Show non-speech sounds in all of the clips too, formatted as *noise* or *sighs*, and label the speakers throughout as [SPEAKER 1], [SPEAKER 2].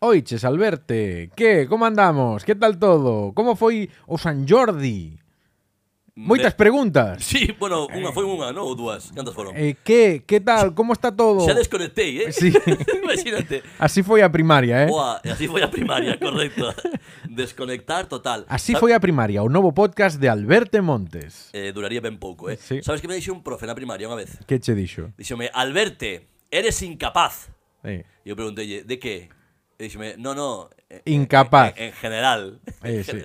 [SPEAKER 1] Oiches, Alberte, que? Como andamos? Que tal todo? Como foi o San Jordi? Moitas preguntas
[SPEAKER 2] *laughs* Sí, bueno, unha foi unha, non? Ou dúas? Cantas foron?
[SPEAKER 1] eh, Que, que tal? Como está todo?
[SPEAKER 2] Xa desconectei, eh?
[SPEAKER 1] Sí.
[SPEAKER 2] *laughs*
[SPEAKER 1] *laughs*
[SPEAKER 2] Imagínate.
[SPEAKER 1] Así foi a primaria, eh?
[SPEAKER 2] Buah, así foi a primaria, correcto. *laughs* Desconectar total.
[SPEAKER 1] Así
[SPEAKER 2] Sa-
[SPEAKER 1] foi a primaria, o novo podcast de Alberte Montes
[SPEAKER 2] Eh, duraría ben pouco, eh?
[SPEAKER 1] Sí.
[SPEAKER 2] Sabes que me dixo un profe na primaria unha vez?
[SPEAKER 1] Que che dixo?
[SPEAKER 2] Díxome, Alberte, eres incapaz.
[SPEAKER 1] Eh,
[SPEAKER 2] E eu preguntei, de que? E díxome, no, no. eh,
[SPEAKER 1] Incapaz.
[SPEAKER 2] En, en general.
[SPEAKER 1] eh, sí,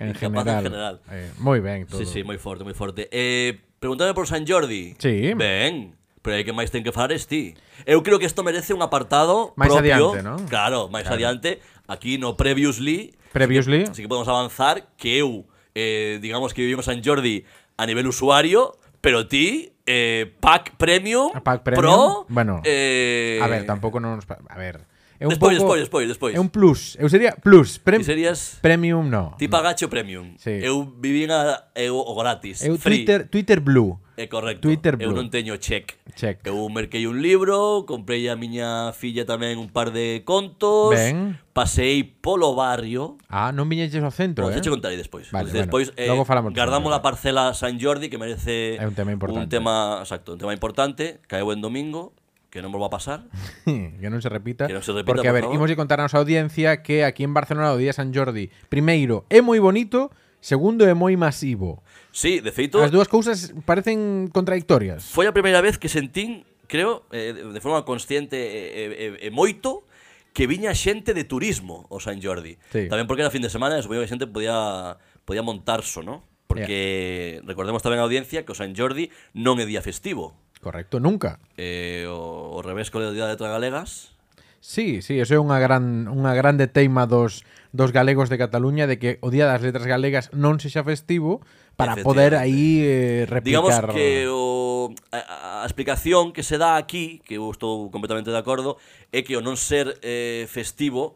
[SPEAKER 1] en
[SPEAKER 2] Incapaz
[SPEAKER 1] general,
[SPEAKER 2] En general.
[SPEAKER 1] Eh, Moi ben todo
[SPEAKER 2] Sí, sí, moi forte, moi forte. Eh, preguntame por San Jordi.
[SPEAKER 1] Sí.
[SPEAKER 2] Ben, pero hai que máis ten que falar es ti. Eu creo que isto merece un apartado
[SPEAKER 1] Máis
[SPEAKER 2] propio.
[SPEAKER 1] adiante, ¿no?
[SPEAKER 2] Claro, máis adiante. Aquí no Previously,
[SPEAKER 1] Previously
[SPEAKER 2] así que podemos avanzar que eu, eh, digamos que vivimos San Jordi a nivel usuario, pero ti, eh, Pack Premium,
[SPEAKER 1] A Pack
[SPEAKER 2] Pro,
[SPEAKER 1] Premium, bueno,
[SPEAKER 2] eh,
[SPEAKER 1] A ver, tampouco non nos... pa- A ver É un
[SPEAKER 2] Despois,
[SPEAKER 1] pouco-
[SPEAKER 2] despois, despois, despois.
[SPEAKER 1] É un plus Eu sería plus pre-
[SPEAKER 2] Ti serías
[SPEAKER 1] Premium no
[SPEAKER 2] ti pagacho
[SPEAKER 1] Mm.
[SPEAKER 2] Premium.
[SPEAKER 1] Sí.
[SPEAKER 2] Eu vivín a, eu, o gratis.
[SPEAKER 1] Eu
[SPEAKER 2] free.
[SPEAKER 1] Twitter, Twitter Blue
[SPEAKER 2] É correcto.
[SPEAKER 1] Twitter
[SPEAKER 2] eu
[SPEAKER 1] Blue.
[SPEAKER 2] non teño check.
[SPEAKER 1] Check.
[SPEAKER 2] Eu merquei un libro, comprei a miña filla tamén un par de contos.
[SPEAKER 1] Ben.
[SPEAKER 2] Pasei polo barrio.
[SPEAKER 1] Ah, non viñeches ao centro,
[SPEAKER 2] Bueno,
[SPEAKER 1] eh?
[SPEAKER 2] xa che contarei despois.
[SPEAKER 1] Vale, bueno,
[SPEAKER 2] Entonces, despois eh,
[SPEAKER 1] logo falamos do
[SPEAKER 2] guardamos
[SPEAKER 1] San
[SPEAKER 2] a parcela San Jordi que merece
[SPEAKER 1] É un tema importante.
[SPEAKER 2] Un tema, exacto, un tema importante, cae buen domingo, que non vos va a pasar.
[SPEAKER 1] *laughs* que non se repita.
[SPEAKER 2] Que non se repita,
[SPEAKER 1] porque, a
[SPEAKER 2] por
[SPEAKER 1] ver,
[SPEAKER 2] favor.
[SPEAKER 1] imos de contar a nosa audiencia que aquí en Barcelona o día San Jordi, primeiro, é moi bonito, segundo, é moi masivo.
[SPEAKER 2] Sí, de feito,
[SPEAKER 1] As dúas cousas parecen contradictorias.
[SPEAKER 2] foi a primeira vez que sentín, creo, eh, de forma consciente e, e, e moito, que viña xente de turismo ao San Jordi.
[SPEAKER 1] Sí.
[SPEAKER 2] Tamén porque era fin de semana e supoño que a xente podía, podía montarso, ¿no? Porque recordemos tamén a audiencia que o San Jordi non é día festivo.
[SPEAKER 1] Correcto, nunca.
[SPEAKER 2] Eh, o, o revés co día de Tragalegas,
[SPEAKER 1] Sí, sí, eso é unha gran unha grande teima dos dos galegos de Cataluña de que o Día das Letras Galegas non sexa festivo para poder aí eh,
[SPEAKER 2] Digamos
[SPEAKER 1] replicar
[SPEAKER 2] que o, a, a- a explicación que se dá aquí, que eu estou completamente de acordo, é que o non ser eh, festivo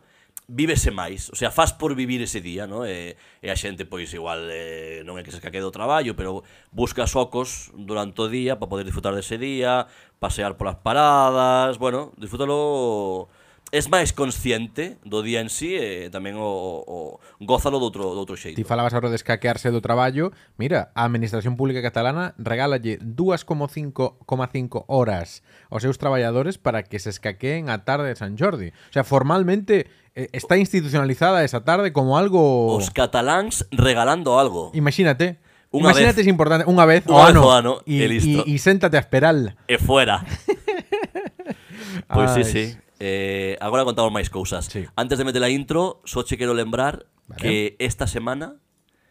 [SPEAKER 2] vívese máis, o sea, faz por vivir ese día, non? E, e a xente, pois, igual, eh, non é que se escaque do traballo, pero busca socos durante o día para poder disfrutar dese día, pasear polas paradas, bueno, disfrútalo... Es máis consciente do día en sí e tamén o, o, o gózalo do outro, do outro xeito.
[SPEAKER 1] Ti falabas agora de escaquearse do traballo. Mira, a Administración Pública Catalana regálalle 2,5,5 horas aos seus traballadores para que se escaqueen a tarde de San Jordi. O sea, formalmente eh, está institucionalizada esa tarde como algo...
[SPEAKER 2] Os cataláns regalando algo.
[SPEAKER 1] Imagínate.
[SPEAKER 2] Unha
[SPEAKER 1] Imagínate es
[SPEAKER 2] vez.
[SPEAKER 1] importante. Unha vez
[SPEAKER 2] Unha
[SPEAKER 1] o
[SPEAKER 2] vez
[SPEAKER 1] ano.
[SPEAKER 2] o ano,
[SPEAKER 1] y,
[SPEAKER 2] e listo.
[SPEAKER 1] y- y séntate a esperar.
[SPEAKER 2] e fuera. pois
[SPEAKER 1] Ai,
[SPEAKER 2] Pues sí, sí. Eh, agora contamos máis cousas.
[SPEAKER 1] Ah, Sí.
[SPEAKER 2] Antes de meter a intro, só che quero lembrar
[SPEAKER 1] Vale.
[SPEAKER 2] que esta semana,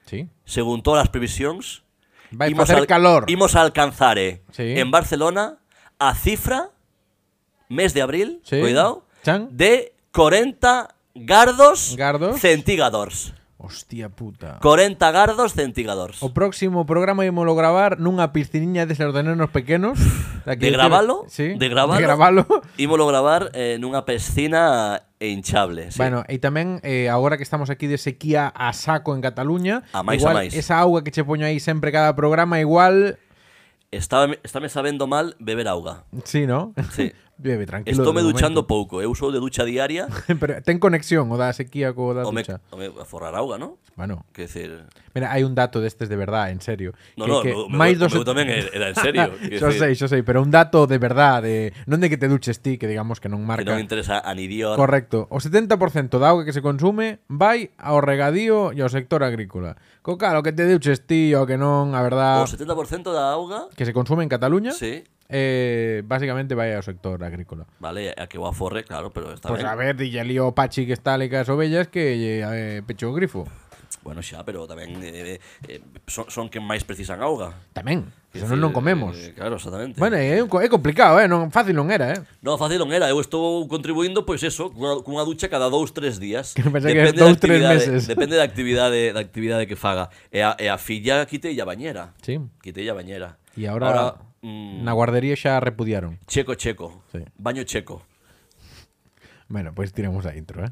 [SPEAKER 1] Sí.
[SPEAKER 2] según todas as previsións,
[SPEAKER 1] Vai facer calor.
[SPEAKER 2] Imos a alcanzar eh,
[SPEAKER 1] Sí.
[SPEAKER 2] en Barcelona a cifra mes de abril,
[SPEAKER 1] Sí.
[SPEAKER 2] cuidado,
[SPEAKER 1] Chan.
[SPEAKER 2] de 40 gardos,
[SPEAKER 1] Gardos.
[SPEAKER 2] centigadors.
[SPEAKER 1] Hostia puta.
[SPEAKER 2] 40 gardos centigadors.
[SPEAKER 1] O próximo programa ímolo gravar nunha pisciniña desas de nenos pequenos. Da que
[SPEAKER 2] *laughs* De
[SPEAKER 1] dice-
[SPEAKER 2] gravalo,
[SPEAKER 1] Sí,
[SPEAKER 2] de
[SPEAKER 1] De
[SPEAKER 2] gravalo,
[SPEAKER 1] gravalo.
[SPEAKER 2] Ímolo gravar eh, nunha piscina hinchable. Sí.
[SPEAKER 1] Bueno, e tamén eh, agora que estamos aquí de sequía a saco en Cataluña,
[SPEAKER 2] A máis,
[SPEAKER 1] igual
[SPEAKER 2] a máis.
[SPEAKER 1] esa auga que che poño aí sempre cada programa igual,
[SPEAKER 2] Estaba, estáme sabendo mal beber auga.
[SPEAKER 1] sí, ¿no? *laughs*
[SPEAKER 2] Sí.
[SPEAKER 1] Bebe tranquilo.
[SPEAKER 2] Estou me
[SPEAKER 1] de
[SPEAKER 2] duchando
[SPEAKER 1] momento.
[SPEAKER 2] pouco, eu uso de ducha diaria
[SPEAKER 1] *laughs* Pero ten conexión o da sequía co da
[SPEAKER 2] o me,
[SPEAKER 1] ducha.
[SPEAKER 2] o me a forrar auga, ¿no?
[SPEAKER 1] Bueno,
[SPEAKER 2] Que decir,
[SPEAKER 1] mira, hai un dato destes de verdade, en serio,
[SPEAKER 2] no,
[SPEAKER 1] que,
[SPEAKER 2] no,
[SPEAKER 1] que
[SPEAKER 2] meu- meu-
[SPEAKER 1] máis dos
[SPEAKER 2] meu tamén
[SPEAKER 1] *laughs*
[SPEAKER 2] era- era en serio, que
[SPEAKER 1] Xo
[SPEAKER 2] decir-
[SPEAKER 1] sei, xo sei, pero un dato de verdade, de non de que te duches ti, que digamos que non
[SPEAKER 2] que
[SPEAKER 1] marca.
[SPEAKER 2] non me interesa a ni Dior.
[SPEAKER 1] Correcto. O 70% da auga que se consume vai ao regadío e ao sector agrícola. Co cal, o que te duches ti, o que non, a
[SPEAKER 2] O
[SPEAKER 1] verdad,
[SPEAKER 2] 70% da auga,
[SPEAKER 1] que se consume en Cataluña,
[SPEAKER 2] sí,
[SPEAKER 1] eh, basicamente vai ao sector agrícola.
[SPEAKER 2] vale, a que o aforre, claro, pero está
[SPEAKER 1] Pois pues
[SPEAKER 2] ben.
[SPEAKER 1] a ver, dille ali o Pachi que está ali cas ovellas que lle eh, pecho o grifo.
[SPEAKER 2] Bueno, xa, pero tamén eh, eh, son, son que máis precisan auga.
[SPEAKER 1] Tamén, que
[SPEAKER 2] Que
[SPEAKER 1] senón
[SPEAKER 2] decir,
[SPEAKER 1] non comemos.
[SPEAKER 2] eh, claro, exactamente.
[SPEAKER 1] Bueno, é, co- é complicado, eh? non fácil non era, eh?
[SPEAKER 2] No, fácil non era, eu estou contribuindo pois eso, cunha, cunha ducha cada dous, tres días.
[SPEAKER 1] Que pensei que dous,
[SPEAKER 2] da
[SPEAKER 1] tres
[SPEAKER 2] actividade-
[SPEAKER 1] meses. *laughs*
[SPEAKER 2] Depende da actividade, da actividade que faga. E a, e a filla quite a bañera.
[SPEAKER 1] Sí.
[SPEAKER 2] Quite a bañera.
[SPEAKER 1] E agora,
[SPEAKER 2] mm,
[SPEAKER 1] na guardería xa repudiaron.
[SPEAKER 2] checo checo.
[SPEAKER 1] Sí.
[SPEAKER 2] Baño checo.
[SPEAKER 1] Bueno, pois pues tiramos a intro, eh?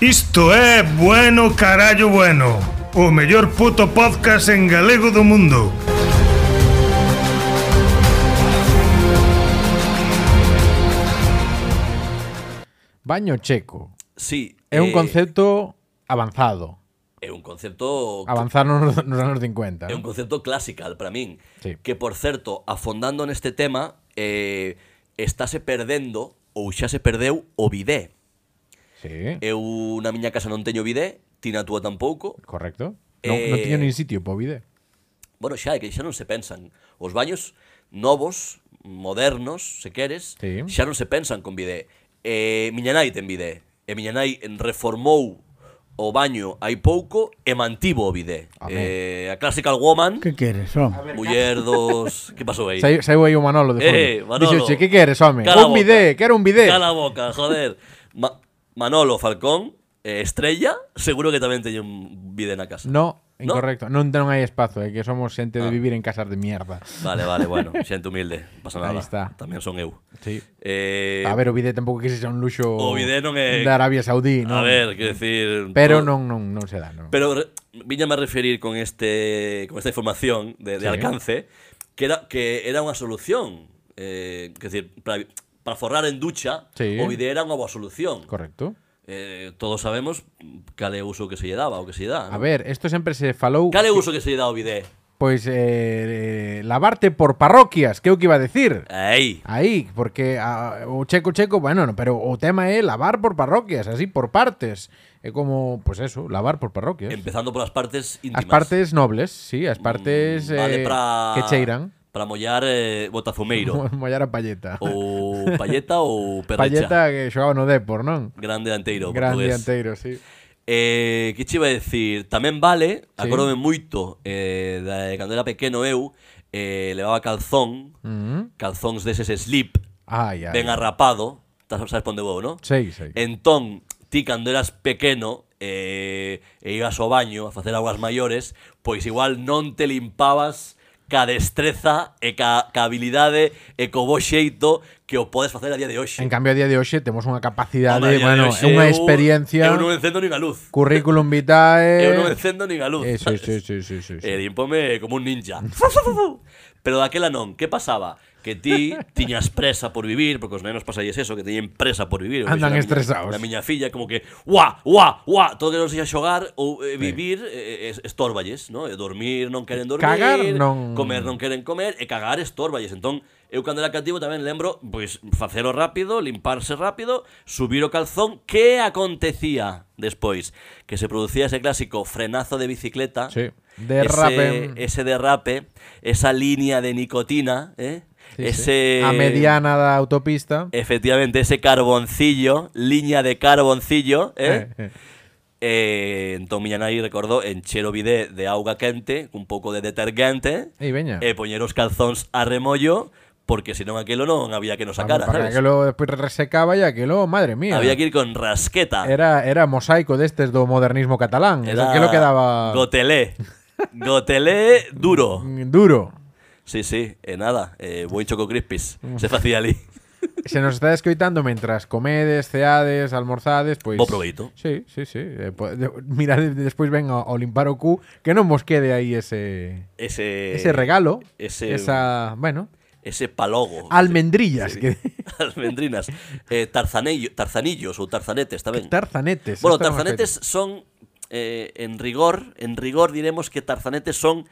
[SPEAKER 3] Isto é Bueno Carallo Bueno O mellor puto podcast en galego do mundo
[SPEAKER 1] Baño checo.
[SPEAKER 2] Sí,
[SPEAKER 1] É un
[SPEAKER 2] eh,
[SPEAKER 1] concepto avanzado.
[SPEAKER 2] é un concepto
[SPEAKER 1] Avanzar nos, nos anos 50.
[SPEAKER 2] É un concepto classical para min.
[SPEAKER 1] Sí.
[SPEAKER 2] Que, por certo, afondando neste tema, eh, estáse perdendo, ou xa se perdeu, o bidé.
[SPEAKER 1] Sí,
[SPEAKER 2] Eu na miña casa non teño bidé, ti na túa tampouco.
[SPEAKER 1] correcto. Non, non
[SPEAKER 2] eh,
[SPEAKER 1] tiño nin sitio para o bidé.
[SPEAKER 2] Bueno, xa é que xa non se pensan. Os baños novos, modernos, se queres,
[SPEAKER 1] Sí.
[SPEAKER 2] xa non se pensan con bidé. Eh, miña nai ten bidé. E miña nai reformou o baño hai pouco e mantivo o bidé.
[SPEAKER 1] Amén.
[SPEAKER 2] Eh, a classical woman,
[SPEAKER 4] ¿Qué quieres, home?
[SPEAKER 2] muller dos... que pasou aí?
[SPEAKER 1] Saiu, saiu aí o Manolo de fondo.
[SPEAKER 2] Eh, Manolo.
[SPEAKER 1] Dixoche, que queres, home?
[SPEAKER 2] Cala a
[SPEAKER 1] un
[SPEAKER 2] boca.
[SPEAKER 1] bidé, quero un bidé.
[SPEAKER 2] Cala a boca, joder. Ma- Manolo Falcón, eh, estrella, seguro que tamén teñen un vídeo na casa.
[SPEAKER 1] No, incorrecto. Non, non hai espazo, é que somos xente
[SPEAKER 2] Ah.
[SPEAKER 1] de vivir en casas de mierda.
[SPEAKER 2] Vale, vale, bueno, xente humilde, non pasa nada.
[SPEAKER 1] Ahí está.
[SPEAKER 2] Tamén son eu.
[SPEAKER 1] Sí.
[SPEAKER 2] Eh,
[SPEAKER 1] a ver, o bidé tampouco que sexa un luxo
[SPEAKER 2] o bidé non é-
[SPEAKER 1] da Arabia Saudí, non?
[SPEAKER 2] a ver, quero decir...
[SPEAKER 1] Pero
[SPEAKER 2] todo-
[SPEAKER 1] non, non, non se dá, non.
[SPEAKER 2] Pero re- víñame a referir con este con esta información de, de
[SPEAKER 1] Sí.
[SPEAKER 2] alcance que era que era unha solución, eh, que decir, para, para forrar en ducha,
[SPEAKER 1] Sí.
[SPEAKER 2] o bidé era unha boa solución.
[SPEAKER 1] Correcto.
[SPEAKER 2] Eh, todos sabemos cal é o uso que se lle daba o que se lle dá.
[SPEAKER 1] A
[SPEAKER 2] non?
[SPEAKER 1] ver, isto sempre se falou
[SPEAKER 2] Cal é o Ah, uso que se lle dá ao bidé?
[SPEAKER 1] Pois eh, eh, lavarte por parroquias, que é o que iba a decir.
[SPEAKER 2] Ei,
[SPEAKER 1] Aí, porque a, o checo checo, bueno, no, pero o tema é lavar por parroquias, así por partes. É como, pois pues eso, lavar por parroquias.
[SPEAKER 2] empezando polas partes íntimas.
[SPEAKER 1] As partes nobles, sí, as partes
[SPEAKER 2] Mm, vale
[SPEAKER 1] eh,
[SPEAKER 2] pra-
[SPEAKER 1] que cheiran.
[SPEAKER 2] Para mollar eh,
[SPEAKER 1] *laughs*
[SPEAKER 2] botafumeiro
[SPEAKER 1] Mollar a palleta.
[SPEAKER 2] ou palleta ou perrecha.
[SPEAKER 1] Palleta que xogaba no Depor, non?
[SPEAKER 2] Grande anteiro,
[SPEAKER 1] Gran
[SPEAKER 2] portugués.
[SPEAKER 1] dianteiro, sí.
[SPEAKER 2] Eh, que che iba a decir? Tamén vale,
[SPEAKER 1] Sí.
[SPEAKER 2] acordome moito eh, de cando era pequeno eu, eh, levaba calzón,
[SPEAKER 1] Mm.
[SPEAKER 2] calzóns deses slip,
[SPEAKER 1] Ai, ai.
[SPEAKER 2] ben arrapado, tas- sabes ponde vou, non?
[SPEAKER 1] Sei, sei.
[SPEAKER 2] Entón, ti cando eras pequeno eh, e ibas ao baño a facer aguas maiores, pois igual non te limpabas ca destreza e ca, ca habilidade e co bo xeito que o podes facer a día de hoxe.
[SPEAKER 1] En cambio, a día de hoxe temos unha capacidade,
[SPEAKER 2] Home, a día de
[SPEAKER 1] bueno, é
[SPEAKER 2] hoxe
[SPEAKER 1] unha
[SPEAKER 2] eu-
[SPEAKER 1] experiencia,
[SPEAKER 2] Eu non encendo nin a luz.
[SPEAKER 1] currículum vitae...
[SPEAKER 2] *laughs* Eu non encendo nin a luz.
[SPEAKER 1] Eh, sí,
[SPEAKER 2] sabes?
[SPEAKER 1] sí, sí, sí, sí, sí.
[SPEAKER 2] E limpome como un
[SPEAKER 1] *laughs*
[SPEAKER 2] ninja. Fu, fu, fu, fu. Pero daquela non, que pasaba? Que ti tiñas presa por vivir, porque os nenos pasalles eso, que teñen presa por vivir. Eu
[SPEAKER 1] Andan
[SPEAKER 2] vexo na miña-
[SPEAKER 1] estresados.
[SPEAKER 2] Na miña filla, como que, guá, guá, guá, todo que non sexa xogar ou eh, vivir, eh, es- estórballes, ¿no? E dormir non queren dormir,
[SPEAKER 1] Cagar non-
[SPEAKER 2] comer non queren comer, e cagar estórballes. Entón, eu cando era cativo tamén lembro, pois, facelo rápido, limparse rápido, subir o calzón, que acontecía despois? Que se producía ese clásico frenazo de bicicleta,
[SPEAKER 1] Sí. Derrape.
[SPEAKER 2] Ese, ese derrape, esa línea de nicotina, ¿eh?
[SPEAKER 1] Sí, sí.
[SPEAKER 2] ese. Eh,
[SPEAKER 1] A mediana da autopista.
[SPEAKER 2] Efectivamente, ese carboncillo, línea de carboncillo, ¿eh?
[SPEAKER 1] Eh, eh.
[SPEAKER 2] Eh, entón miña nai recordou encher o bidé de auga quente cun pouco de detergente
[SPEAKER 1] Ei, veña.
[SPEAKER 2] e poñer os calzóns a remollo porque senón aquilo non había que nos sacara,
[SPEAKER 1] Para
[SPEAKER 2] sabes?
[SPEAKER 1] que lo despois resecaba e aquilo, madre mía.
[SPEAKER 2] Había que ir con rasqueta.
[SPEAKER 1] Era, era mosaico destes do modernismo catalán. Era... Aquilo quedaba Mm.
[SPEAKER 2] Gotelé.
[SPEAKER 1] *laughs*
[SPEAKER 2] Gotelé duro.
[SPEAKER 1] duro.
[SPEAKER 2] Sí, sí, e nada, eh, buen choco crispis,
[SPEAKER 1] Mm.
[SPEAKER 2] se facía ali.
[SPEAKER 1] Se nos está escoitando mentras comedes, ceades, almorzades, pois...
[SPEAKER 2] Bo proveito.
[SPEAKER 1] Sí, sí, sí. Eh, po- de- Mirad, despois ven ao, ao limpar o cu, que non vos quede aí ese...
[SPEAKER 2] Ese,
[SPEAKER 1] Ese regalo,
[SPEAKER 2] Eh, ese-
[SPEAKER 1] esa, bueno,
[SPEAKER 2] Ese palogo.
[SPEAKER 1] almendrillas,
[SPEAKER 2] *laughs*
[SPEAKER 1] que,
[SPEAKER 2] Almendrinas. Eh, tarzanello- tarzanillos ou tarzanetes tamén.
[SPEAKER 1] *laughs* tarzanetes.
[SPEAKER 2] bueno,
[SPEAKER 1] esta
[SPEAKER 2] tarzanetes son, eh, en rigor, en rigor diremos que tarzanetes son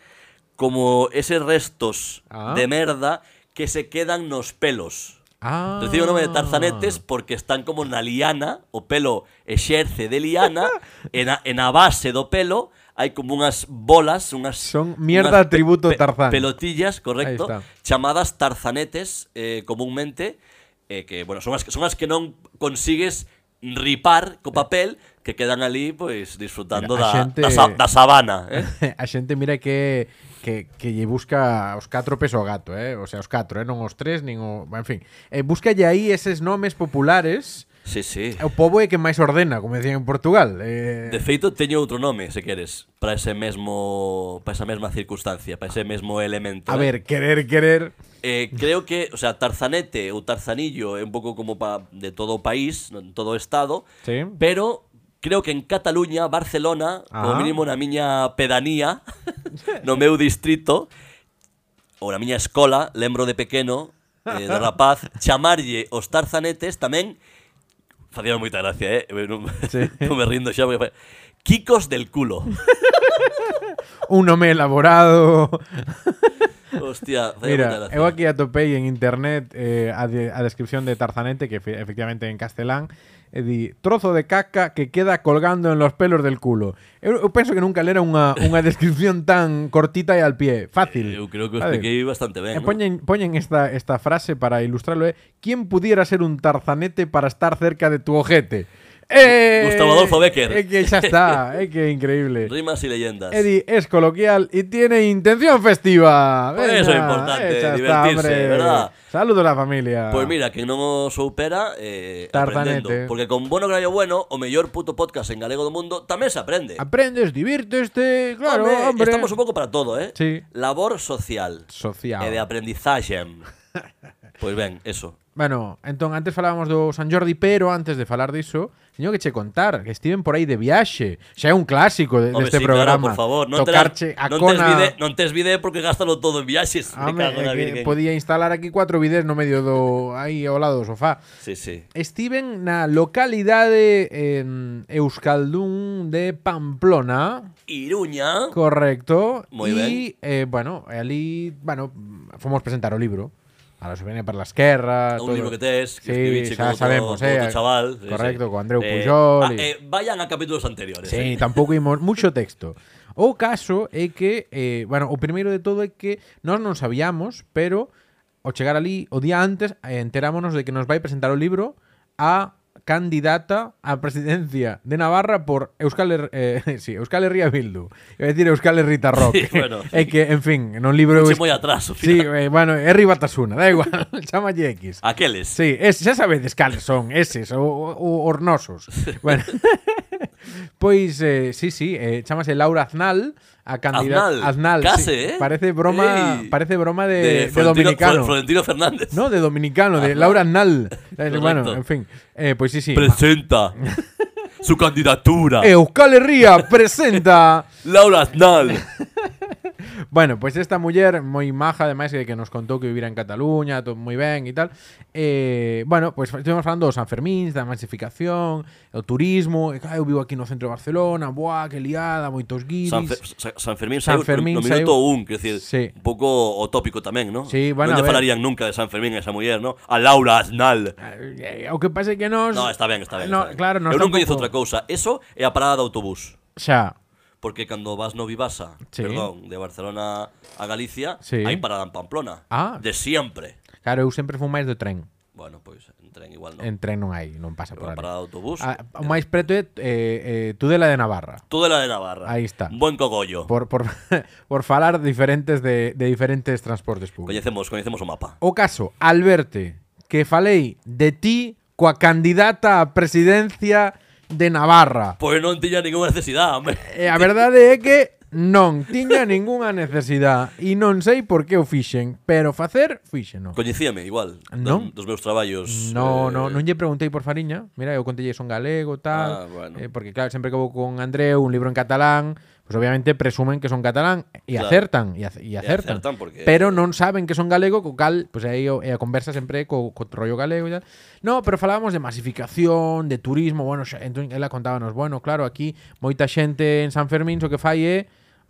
[SPEAKER 2] como eses restos
[SPEAKER 1] Ah.
[SPEAKER 2] de merda que se quedan nos pelos.
[SPEAKER 1] Ah.
[SPEAKER 2] Recibe o nome de tarzanetes porque están como na liana, o pelo exerce de
[SPEAKER 1] *laughs*
[SPEAKER 2] liana, e na, e na base do pelo hai como unhas bolas, unhas...
[SPEAKER 1] Son mierda
[SPEAKER 2] unhas pe-
[SPEAKER 1] tributo
[SPEAKER 2] pe-
[SPEAKER 1] Tarzán.
[SPEAKER 2] Pelotillas, correcto,
[SPEAKER 1] Ahí está.
[SPEAKER 2] chamadas tarzanetes eh, comúnmente, eh, que, bueno, son as, que- son as que non consigues ripar co papel, que quedan ali, pois, disfrutando
[SPEAKER 1] Mira, a
[SPEAKER 2] da,
[SPEAKER 1] xente-
[SPEAKER 2] da, sa- da sabana,
[SPEAKER 1] *laughs*
[SPEAKER 2] eh?
[SPEAKER 1] a xente mira que que, que lle busca os catro peso ao gato, eh? O sea, os catro, eh? non os tres, nin o... En fin, eh, buscalle aí eses nomes populares
[SPEAKER 2] Sí, sí.
[SPEAKER 1] O pobo é que máis ordena, como decían en Portugal. Eh,
[SPEAKER 2] De feito, teño outro nome, se queres, para ese mesmo para esa mesma circunstancia, para ese mesmo elemento.
[SPEAKER 1] a
[SPEAKER 2] eh.
[SPEAKER 1] ver, querer, querer.
[SPEAKER 2] Eh, creo que, o sea, Tarzanete ou Tarzanillo é un pouco como pa, de todo o país, no- en todo o estado,
[SPEAKER 1] Sí.
[SPEAKER 2] pero creo que en Cataluña, Barcelona,
[SPEAKER 1] Ah.
[SPEAKER 2] como mínimo na miña pedanía, *laughs* no meu distrito, ou na miña escola,
[SPEAKER 1] *laughs*
[SPEAKER 2] lembro de pequeno, eh, de rapaz, chamarlle os tarzanetes tamén Facía moita gracia, eh? Eu non,
[SPEAKER 1] Sí.
[SPEAKER 2] *laughs* non me rindo xa porque... fa- Kikos del culo.
[SPEAKER 1] *laughs* Un nome elaborado.
[SPEAKER 2] Hostia, facía moita
[SPEAKER 1] Mira,
[SPEAKER 2] gracia.
[SPEAKER 1] eu aquí atopei en internet eh, a, de- a descripción de Tarzanete, que fe- efectivamente en castelán, e di trozo de caca que queda colgando en los pelos del culo. Eu, eu penso que nunca lera unha,
[SPEAKER 2] *laughs*
[SPEAKER 1] unha descripción tan cortita e al pie. Fácil.
[SPEAKER 2] Eh, Eu creo que o
[SPEAKER 1] Vale.
[SPEAKER 2] expliquei bastante
[SPEAKER 1] Eh,
[SPEAKER 2] ben, ¿no?
[SPEAKER 1] poñen, poñen esta, esta frase para ilustrarlo. Eh. ¿Quién pudiera ser un tarzanete para estar cerca de tu ojete? Eh,
[SPEAKER 2] Gustavo Adolfo Bécquer.
[SPEAKER 1] É que xa
[SPEAKER 2] *laughs*
[SPEAKER 1] está, é que é increíble.
[SPEAKER 2] Rimas y leyendas.
[SPEAKER 1] Eddie es coloquial y tiene intención festiva.
[SPEAKER 2] Por eso es
[SPEAKER 1] ya
[SPEAKER 2] importante,
[SPEAKER 1] está,
[SPEAKER 2] divertirse,
[SPEAKER 1] hombre.
[SPEAKER 2] ¿verdad?
[SPEAKER 1] Saludos a la familia.
[SPEAKER 2] Pois Pues mira, que non o soupera eh,
[SPEAKER 1] Tarzanete.
[SPEAKER 2] aprendendo Porque con Bono Grayo Bueno, o mellor puto podcast en galego do mundo Tamén se aprende
[SPEAKER 1] Aprendes, divirteste, Ah, claro,
[SPEAKER 2] Home,
[SPEAKER 1] hombre.
[SPEAKER 2] eh, Estamos un pouco para todo, eh
[SPEAKER 1] Sí.
[SPEAKER 2] Labor social
[SPEAKER 1] Social.
[SPEAKER 2] E de aprendizaxe Pois ben, eso
[SPEAKER 1] Bueno, entón, antes falábamos do San Jordi, pero antes de falar diso, teño que che contar que estiven por aí de viaxe. Xa é un clásico de,
[SPEAKER 2] Home,
[SPEAKER 1] deste
[SPEAKER 2] sí,
[SPEAKER 1] este programa.
[SPEAKER 2] claro, por favor non
[SPEAKER 1] Tocarche
[SPEAKER 2] te
[SPEAKER 1] a
[SPEAKER 2] non
[SPEAKER 1] cona...
[SPEAKER 2] tes vide, non tes vide porque gástalo todo en viaxes Me
[SPEAKER 1] Home,
[SPEAKER 2] cago
[SPEAKER 1] é
[SPEAKER 2] na
[SPEAKER 1] que
[SPEAKER 2] virgen
[SPEAKER 1] podía instalar aquí cuatro bidés no medio do aí ao lado do sofá.
[SPEAKER 2] Sí, sí
[SPEAKER 1] Estiven na localidade en Euskaldun de Pamplona,
[SPEAKER 2] Iruña
[SPEAKER 1] correcto.
[SPEAKER 2] Moi
[SPEAKER 1] y, eh, bueno, ali, bueno, fomos presentar o libro. A la soberanía para la esquerra.
[SPEAKER 2] Un libro que tes que
[SPEAKER 1] sí,
[SPEAKER 2] escribiche
[SPEAKER 1] xa
[SPEAKER 2] con
[SPEAKER 1] sabemos,
[SPEAKER 2] outro- con
[SPEAKER 1] eh.
[SPEAKER 2] outro chaval sí,
[SPEAKER 1] correcto,
[SPEAKER 2] sí.
[SPEAKER 1] con Andreu
[SPEAKER 2] Eh,
[SPEAKER 1] Pujol.
[SPEAKER 2] ah,
[SPEAKER 1] e-
[SPEAKER 2] eh, Vayan a capítulos anteriores eh. *laughs*
[SPEAKER 1] Sí, tampouco imos mucho texto. O caso é que, eh, bueno, o primeiro de todo é que nós non sabíamos, pero ao chegar ali o día antes eh, enterámonos de que nos vai presentar o libro a candidata á presidencia de Navarra por Euskal, Her eh, *laughs* sí, Euskal Herria Bildu. Iba a decir Euskal Herrita Rock.
[SPEAKER 2] Sí, bueno,
[SPEAKER 1] é que, en fin, non libro...
[SPEAKER 2] Fuche
[SPEAKER 1] es-
[SPEAKER 2] moi atrás, ao
[SPEAKER 1] Sí,
[SPEAKER 2] final.
[SPEAKER 1] eh, bueno, Herri Batasuna, da igual, *laughs* chamalle X.
[SPEAKER 2] Aqueles.
[SPEAKER 1] Sí, es, xa sabedes cales son eses, o, o
[SPEAKER 2] *laughs*
[SPEAKER 1] ornosos. Bueno, *laughs* pois, eh, sí, sí, eh, chamase Laura Aznal, a candidata...
[SPEAKER 2] Aznal, case,
[SPEAKER 1] sí.
[SPEAKER 2] eh.
[SPEAKER 1] Parece broma,
[SPEAKER 2] Ey.
[SPEAKER 1] parece broma de, de
[SPEAKER 2] Florentino-
[SPEAKER 1] dominicano.
[SPEAKER 2] Fl- Florentino Fernández.
[SPEAKER 1] no, de dominicano, de Laura Aznal.
[SPEAKER 2] *laughs*
[SPEAKER 1] Eh, bueno,
[SPEAKER 2] Correcto.
[SPEAKER 1] en fin, eh, pois sí, sí. *laughs*
[SPEAKER 2] Presenta su candidatura.
[SPEAKER 1] Euskal Herria presenta...
[SPEAKER 2] Laura Aznal.
[SPEAKER 1] Bueno, pois esta muller moi maja, ademais de que nos contou que vivira en Cataluña, todo moi ben e tal. Eh, bueno, pois estivemos falando dos Sanfermíns, da masificación, o turismo, e claro, eu vivo aquí no centro de Barcelona, buah, que liada, moitos guiris.
[SPEAKER 2] San, Fe- Sa- San Fermín
[SPEAKER 1] San
[SPEAKER 2] saiu
[SPEAKER 1] Fermín
[SPEAKER 2] no, no
[SPEAKER 1] saiu-
[SPEAKER 2] minuto 1, quer decir,
[SPEAKER 1] Sí.
[SPEAKER 2] un pouco o tópico tamén, ¿no?
[SPEAKER 1] Sí, van a
[SPEAKER 2] non lle
[SPEAKER 1] ver.
[SPEAKER 2] falarían nunca de San Fermín a esa muller, ¿no? A Laura Aznal.
[SPEAKER 1] Eh, O que pasa é que nos
[SPEAKER 2] No, está ben, está ben.
[SPEAKER 1] No,
[SPEAKER 2] está ben.
[SPEAKER 1] claro, nos
[SPEAKER 2] Eu non
[SPEAKER 1] tampouco-
[SPEAKER 2] coñezo outra cousa. Eso é a parada de autobús.
[SPEAKER 1] xa
[SPEAKER 2] Porque cando vas no Vivasa,
[SPEAKER 1] Sí.
[SPEAKER 2] perdón, de Barcelona a Galicia,
[SPEAKER 1] Sí.
[SPEAKER 2] hai parada en Pamplona.
[SPEAKER 1] Ah.
[SPEAKER 2] De siempre.
[SPEAKER 1] Claro, eu sempre fui máis do tren.
[SPEAKER 2] Bueno, pois, pues, en tren igual non.
[SPEAKER 1] En Ah, tren non hai, non pasa por
[SPEAKER 2] Pero a
[SPEAKER 1] ali.
[SPEAKER 2] parada de autobús.
[SPEAKER 1] A, o máis preto é eh, eh, Tudela de Navarra.
[SPEAKER 2] Todo la de Navarra.
[SPEAKER 1] Ahí está.
[SPEAKER 2] Buen cogollo.
[SPEAKER 1] Por, por, *laughs* por falar diferentes de, de diferentes transportes públicos.
[SPEAKER 2] Coñecemos, coñecemos o mapa.
[SPEAKER 1] O caso, Alberte, que falei de ti coa candidata á presidencia de Navarra.
[SPEAKER 2] Pois non tiña ninguna necesidade, hombre.
[SPEAKER 1] E a verdade é que non tiña ningunha necesidade e non sei por que o fixen, pero facer fíxeno.
[SPEAKER 2] Coñecíame igual dos,
[SPEAKER 1] Non.
[SPEAKER 2] dos meus traballos.
[SPEAKER 1] No,
[SPEAKER 2] eh,
[SPEAKER 1] no, non lle preguntei por Fariña. Mira, eu contelle son galego, tal.
[SPEAKER 2] Ah, bueno.
[SPEAKER 1] eh, porque claro, sempre que vou con Andreu, un libro en catalán, pues obviamente presumen que son catalán e
[SPEAKER 2] Claro.
[SPEAKER 1] acertan, e, ac- e acertan.
[SPEAKER 2] acertan porque-
[SPEAKER 1] Pero non saben que son galego, co cal, pues aí o- e a conversa sempre é co, co rollo galego e tal. No, pero falábamos de masificación, de turismo, bueno, xa, entón ela contábanos, bueno, claro, aquí moita xente en San Fermín o que fai é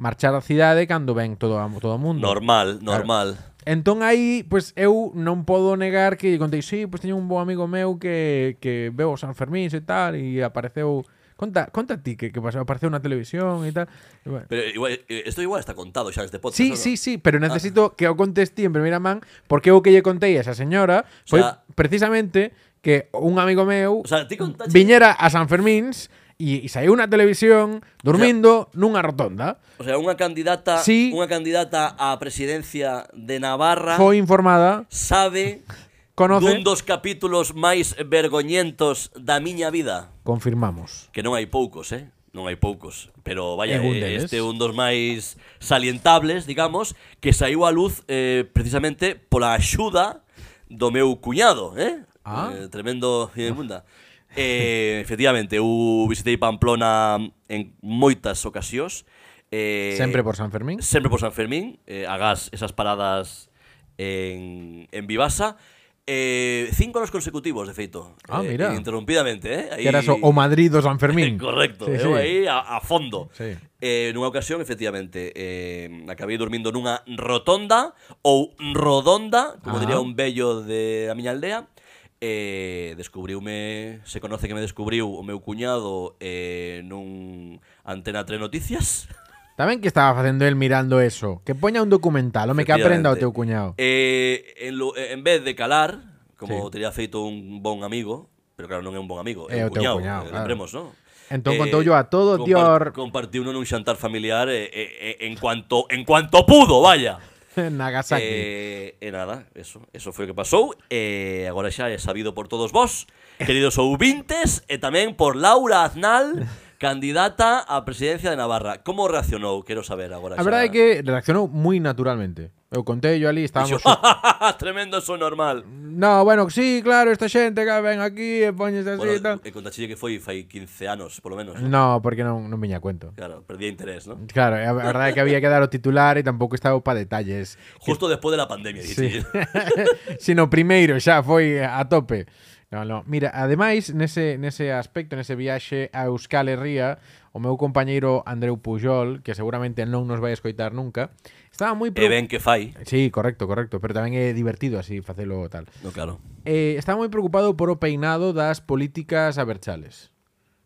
[SPEAKER 1] marchar á cidade cando ven todo a- todo o mundo.
[SPEAKER 2] Normal, normal.
[SPEAKER 1] Entón aí, pois eu non podo negar que lle contei, sí, pois teño un bo amigo meu que, que veo o San Fermín e tal, e apareceu... Conta, conta ti que, que pasou, apareceu na televisión e tal. E bueno,
[SPEAKER 2] Pero igual, eh, isto igual está contado xa neste podcast.
[SPEAKER 1] Sí,
[SPEAKER 2] ¿no?
[SPEAKER 1] sí, sí,
[SPEAKER 2] Ah.
[SPEAKER 1] pero necesito que o contestí en primeira man porque o que lle contei a esa señora foi
[SPEAKER 2] sea-
[SPEAKER 1] precisamente que un amigo meu
[SPEAKER 2] O sea, ti contaste-
[SPEAKER 1] viñera a San Fermíns e, e saiu na televisión dormindo nunha rotonda.
[SPEAKER 2] O sea, unha candidata,
[SPEAKER 1] Sí.
[SPEAKER 2] unha candidata á presidencia de Navarra
[SPEAKER 1] Foi informada,
[SPEAKER 2] sabe
[SPEAKER 1] conoce,
[SPEAKER 2] Ah. dun dos capítulos máis vergoñentos da miña vida.
[SPEAKER 1] confirmamos.
[SPEAKER 2] Que non hai poucos, eh? Non hai poucos,
[SPEAKER 1] É
[SPEAKER 2] pero vaya,
[SPEAKER 1] un
[SPEAKER 2] eh,
[SPEAKER 1] deles.
[SPEAKER 2] este é un dos máis salientables, digamos, que saiu á luz eh, precisamente pola axuda do meu cuñado, eh?
[SPEAKER 1] Ah.
[SPEAKER 2] Eh, tremendo munda. Eh, *laughs* efectivamente, eu visitei Pamplona en moitas ocasións. Eh,
[SPEAKER 1] Sempre por San Fermín.
[SPEAKER 2] Sempre por San Fermín, eh, agás esas paradas en, en Vivasa. Eh, cinco anos consecutivos, de feito.
[SPEAKER 1] Ah,
[SPEAKER 2] Eh,
[SPEAKER 1] mira.
[SPEAKER 2] Interrumpidamente, eh? Aí-
[SPEAKER 1] Que era eso, o Madrid o San
[SPEAKER 2] *laughs*
[SPEAKER 1] Fermín.
[SPEAKER 2] Correcto,
[SPEAKER 1] Sí,
[SPEAKER 2] eu
[SPEAKER 1] sí.
[SPEAKER 2] aí a, a fondo.
[SPEAKER 1] Sí.
[SPEAKER 2] Eh, nunha ocasión, efectivamente, eh, acabei dormindo nunha rotonda ou rodonda,
[SPEAKER 1] Ah.
[SPEAKER 2] como diría un bello de a miña aldea. Eh, descubriume, se conoce que me descubriu o meu cuñado eh, nun Antena 3 Noticias.
[SPEAKER 1] Tamén que estaba facendo el mirando eso. Que poña un documental, home, que aprenda o
[SPEAKER 2] Efectivamente.
[SPEAKER 1] teu cuñado.
[SPEAKER 2] Eh, en, lu- en vez de calar, como
[SPEAKER 1] Sí.
[SPEAKER 2] tería feito un bon amigo, pero claro, non é un bon amigo,
[SPEAKER 1] É
[SPEAKER 2] é
[SPEAKER 1] o
[SPEAKER 2] un
[SPEAKER 1] teu
[SPEAKER 2] cuñado,
[SPEAKER 1] cuñao,
[SPEAKER 2] eh,
[SPEAKER 1] claro.
[SPEAKER 2] lembremos, non?
[SPEAKER 1] Entón
[SPEAKER 2] eh,
[SPEAKER 1] contoullo a todo, Dior.
[SPEAKER 2] Compartiu nun xantar familiar eh, eh, eh, en cuanto en cuanto pudo, vaya.
[SPEAKER 1] *laughs* Nagasaki.
[SPEAKER 2] Eh, e nada, eso, eso foi o que pasou eh, Agora xa é sabido por todos
[SPEAKER 1] *laughs*
[SPEAKER 2] vos Queridos ouvintes E tamén por Laura
[SPEAKER 1] *laughs*
[SPEAKER 2] Aznal Candidata á presidencia de Navarra Como reaccionou? Quero saber agora
[SPEAKER 1] a verdade é que reaccionou moi naturalmente. Eu contei yo ali,
[SPEAKER 2] *laughs*
[SPEAKER 1] estábamos...
[SPEAKER 2] Dixo, "Ah, Tremendo, eso é normal
[SPEAKER 1] no, bueno, sí, claro, esta xente que ven aquí e poñes así e tal.
[SPEAKER 2] Bueno, eh, e contaxille que foi fai 15 anos, polo menos. ¿no?
[SPEAKER 1] No, porque non, non viña a cuento.
[SPEAKER 2] Claro, perdía interés, ¿no?
[SPEAKER 1] Claro, a a verdade é que había que dar o titular e tampouco estaba pa detalles.
[SPEAKER 2] Justo despois de la pandemia,
[SPEAKER 1] Sí.
[SPEAKER 2] sí. *laughs*
[SPEAKER 1] Sino primeiro xa foi a tope. No, no. Mira, ademais, nese, nese aspecto, nese viaxe a Euskal Herria, o meu compañeiro Andreu Pujol, que seguramente non nos vai escoitar nunca, estaba moi...
[SPEAKER 2] e
[SPEAKER 1] preo-
[SPEAKER 2] ben que fai.
[SPEAKER 1] Sí, correcto, correcto, pero tamén é divertido así facelo tal.
[SPEAKER 2] No, claro.
[SPEAKER 1] eh, está moi preocupado por o peinado das políticas aberchales.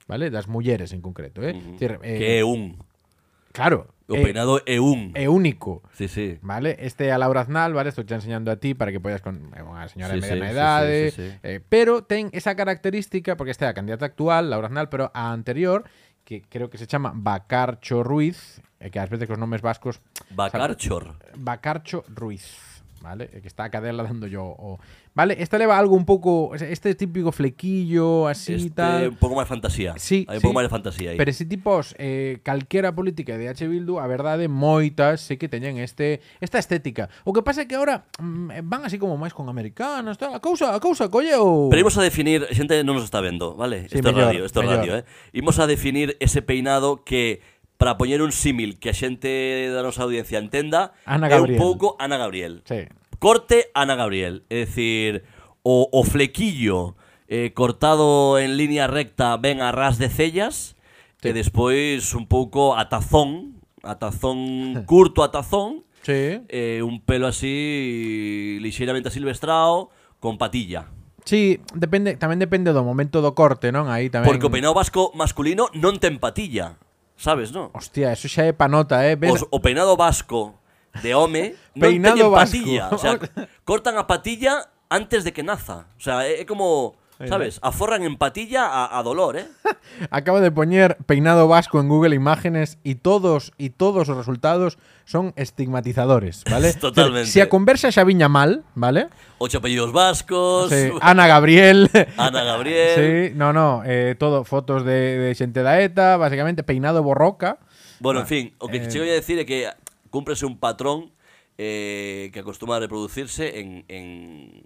[SPEAKER 1] ¿Vale? Das mulleres en concreto, eh?
[SPEAKER 2] Ujú.
[SPEAKER 1] Decir, eh,
[SPEAKER 2] que é un.
[SPEAKER 1] claro.
[SPEAKER 2] O
[SPEAKER 1] eh,
[SPEAKER 2] peinado é un.
[SPEAKER 1] é único.
[SPEAKER 2] Sí, sí.
[SPEAKER 1] ¿Vale? Este a Laura Aznal, ¿vale? Estoy enseñando a ti para que puedas con eh, é unha señora de
[SPEAKER 2] Sí,
[SPEAKER 1] mediana
[SPEAKER 2] sí, sí,
[SPEAKER 1] idade,
[SPEAKER 2] sí, sí, sí.
[SPEAKER 1] eh, pero ten esa característica porque está a candidata actual, Laura Aznal, pero a anterior que creo que se chama Bacarcho Ruiz, eh, que ás veces cos nomes vascos
[SPEAKER 2] Bacarchor.
[SPEAKER 1] Bacarcho Ruiz, ¿vale? Eh, Que está a cadela dando yo. o- ¿Vale? Esta leva algo un poco. o sea, Este típico flequillo, así y
[SPEAKER 2] Este,
[SPEAKER 1] tal.
[SPEAKER 2] un pouco máis fantasía.
[SPEAKER 1] Sí,
[SPEAKER 2] Hai
[SPEAKER 1] sí.
[SPEAKER 2] un pouco máis de fantasía aí.
[SPEAKER 1] Pero ese tipos, eh, calquera política de H. Bildu, a verdade, moitas sí que teñen este esta estética. O que pasa é que ahora mm, van así como máis con americanos, tal. A cousa, a cousa colle o...
[SPEAKER 2] Pero imos a definir, a xente non nos está vendo, vale?
[SPEAKER 1] Sí,
[SPEAKER 2] isto é
[SPEAKER 1] mellor,
[SPEAKER 2] radio, isto é
[SPEAKER 1] mellor.
[SPEAKER 2] radio, eh? Imos a definir ese peinado que para poñer un símil que a xente da nosa audiencia entenda,
[SPEAKER 1] Ana
[SPEAKER 2] é un
[SPEAKER 1] Gabriel.
[SPEAKER 2] pouco Ana Gabriel.
[SPEAKER 1] Sí.
[SPEAKER 2] Corte Ana Gabriel. Es decir, o, o flequillo eh, cortado en línea recta, ven a ras de cellas.
[SPEAKER 1] Sí.
[SPEAKER 2] Que después un poco a tazón, a
[SPEAKER 1] *laughs*
[SPEAKER 2] tazón curto, a tazón.
[SPEAKER 1] Sí.
[SPEAKER 2] eh, un pelo así ligeramente silvestrado, con patilla.
[SPEAKER 1] Sí, depende, tamén depende do momento do corte, non? Aí tamén...
[SPEAKER 2] Porque o peinado vasco masculino non ten patilla, sabes, no?
[SPEAKER 1] Hostia, eso xa é panota, eh? Ves-
[SPEAKER 2] Os- o peinado vasco de home non
[SPEAKER 1] *laughs* Peinado
[SPEAKER 2] teñen
[SPEAKER 1] vasco.
[SPEAKER 2] patilla. O
[SPEAKER 1] *laughs*
[SPEAKER 2] sea, cortan a patilla antes de que naza. O sea, é é como, sabes, aforran en patilla a, a dolor, eh?
[SPEAKER 1] Acabo de poner peinado vasco en Google Imágenes y todos y todos los resultados son estigmatizadores, ¿vale?
[SPEAKER 2] *laughs* Totalmente.
[SPEAKER 1] Si a conversa xa viña mal, ¿vale?
[SPEAKER 2] Ocho apellidos vascos.
[SPEAKER 1] Sí, Ana Gabriel.
[SPEAKER 2] *laughs* Ana Gabriel.
[SPEAKER 1] Sí, no, no, eh, todo fotos de, de xente da ETA, básicamente peinado borroca.
[SPEAKER 2] Bueno, en fin, o
[SPEAKER 1] Eh.
[SPEAKER 2] que chego a decir é que cúmprese un patrón eh, que acostuma a reproducirse en, en,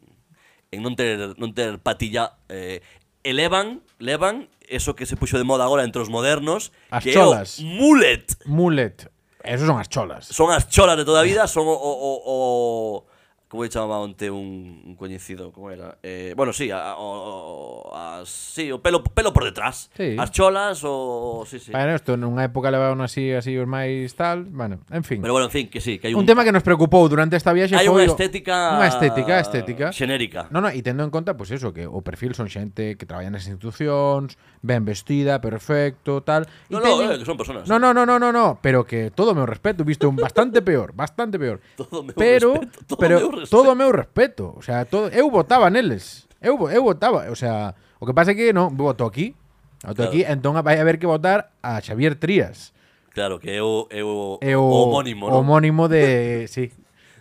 [SPEAKER 2] en non, ter, non ter patilla. Eh, elevan, elevan eso que se puxo de moda agora entre os modernos,
[SPEAKER 1] As
[SPEAKER 2] que é o
[SPEAKER 1] cholas.
[SPEAKER 2] mullet.
[SPEAKER 1] Mullet. Esos son as cholas.
[SPEAKER 2] son as cholas de toda a vida, son o... o, o, o como chamaba onte un, un coñecido, como era? Eh, bueno, sí, a, o, o- as, sí, o pelo, pelo por detrás.
[SPEAKER 1] Sí.
[SPEAKER 2] As cholas o... Sí, sí.
[SPEAKER 1] Bueno, esto nunha época levaban así, así os máis tal, bueno, en fin.
[SPEAKER 2] Pero bueno, en fin, que sí, que hai
[SPEAKER 1] un, tema que nos preocupou durante esta viaxe
[SPEAKER 2] Hai
[SPEAKER 1] foi o-
[SPEAKER 2] unha estética...
[SPEAKER 1] unha estética, estética.
[SPEAKER 2] Xenérica.
[SPEAKER 1] No, no, e tendo en conta, pois pues eso, que o perfil son xente que traballa nas institucións, ben vestida, perfecto, tal. e
[SPEAKER 2] No, no, eh, que son personas.
[SPEAKER 1] No, no, no, no, no, no, pero que todo o meu respeto, visto un bastante peor, bastante peor.
[SPEAKER 2] *laughs* Todo o meu
[SPEAKER 1] pero,
[SPEAKER 2] respeto, todo o
[SPEAKER 1] pero
[SPEAKER 2] meu respeto.
[SPEAKER 1] todo o meu respeto, o sea, todo, eu votaba neles. Eu, vo- eu votaba, o sea, o que pasa é que non voto aquí. Voto
[SPEAKER 2] Claro.
[SPEAKER 1] aquí, entón vai haber que votar a Xavier Trías.
[SPEAKER 2] Claro, que é o, é o,
[SPEAKER 1] É
[SPEAKER 2] o
[SPEAKER 1] o
[SPEAKER 2] homónimo, non?
[SPEAKER 1] homónimo
[SPEAKER 2] *laughs*
[SPEAKER 1] de, sí,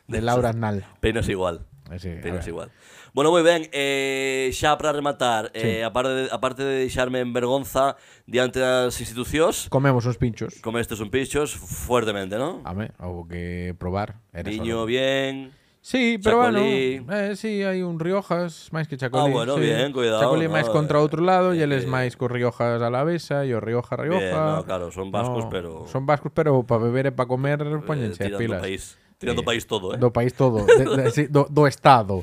[SPEAKER 1] de Laura Aznal. Eh,
[SPEAKER 2] Peinas igual.
[SPEAKER 1] Sí, a
[SPEAKER 2] Peinas
[SPEAKER 1] ver.
[SPEAKER 2] igual. Bueno, moi ben, eh, xa para rematar,
[SPEAKER 1] Sí.
[SPEAKER 2] eh, aparte, de, aparte de deixarme en vergonza diante das institucións,
[SPEAKER 1] Comemos uns pinchos.
[SPEAKER 2] Como estes son pichos, fuertemente, ¿no?
[SPEAKER 1] Home, houve que probar. Era
[SPEAKER 2] Niño,
[SPEAKER 1] solo-
[SPEAKER 2] bien.
[SPEAKER 1] Sí, pero bueno,
[SPEAKER 2] Chacolí.
[SPEAKER 1] eh, sí, hai un Riojas máis que Chacolí.
[SPEAKER 2] Ah, bueno,
[SPEAKER 1] sí.
[SPEAKER 2] bien, cuidado,
[SPEAKER 1] Chacolí
[SPEAKER 2] no,
[SPEAKER 1] máis contra
[SPEAKER 2] eh,
[SPEAKER 1] outro lado, e
[SPEAKER 2] eh,
[SPEAKER 1] eles
[SPEAKER 2] eh.
[SPEAKER 1] máis co Riojas a la besa, e o Rioja, Rioja.
[SPEAKER 2] Bien, no, claro, son vascos, pero-
[SPEAKER 1] Son vascos, pero para beber e para comer,
[SPEAKER 2] Eh,
[SPEAKER 1] póñense
[SPEAKER 2] tirando
[SPEAKER 1] pilas.
[SPEAKER 2] país. Tirando
[SPEAKER 1] Eh,
[SPEAKER 2] país todo, ¿eh?
[SPEAKER 1] Do país todo, de- de- sí, do, do Estado.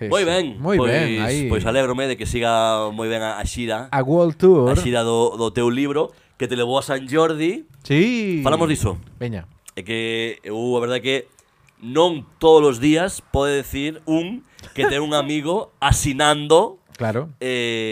[SPEAKER 1] Sí,
[SPEAKER 2] moi
[SPEAKER 1] sí.
[SPEAKER 2] ben.
[SPEAKER 1] Moi
[SPEAKER 2] pois,
[SPEAKER 1] ben, aí.
[SPEAKER 2] Pois alégrome de que siga moi ben a, a xira.
[SPEAKER 1] A World Tour.
[SPEAKER 2] A xira do, do teu libro que te levou a San Jordi.
[SPEAKER 1] Sí.
[SPEAKER 2] Falamos diso.
[SPEAKER 1] Veña.
[SPEAKER 2] É que eu, a verdade é que non todos os días pode decir un que ten un amigo asinando
[SPEAKER 1] Claro.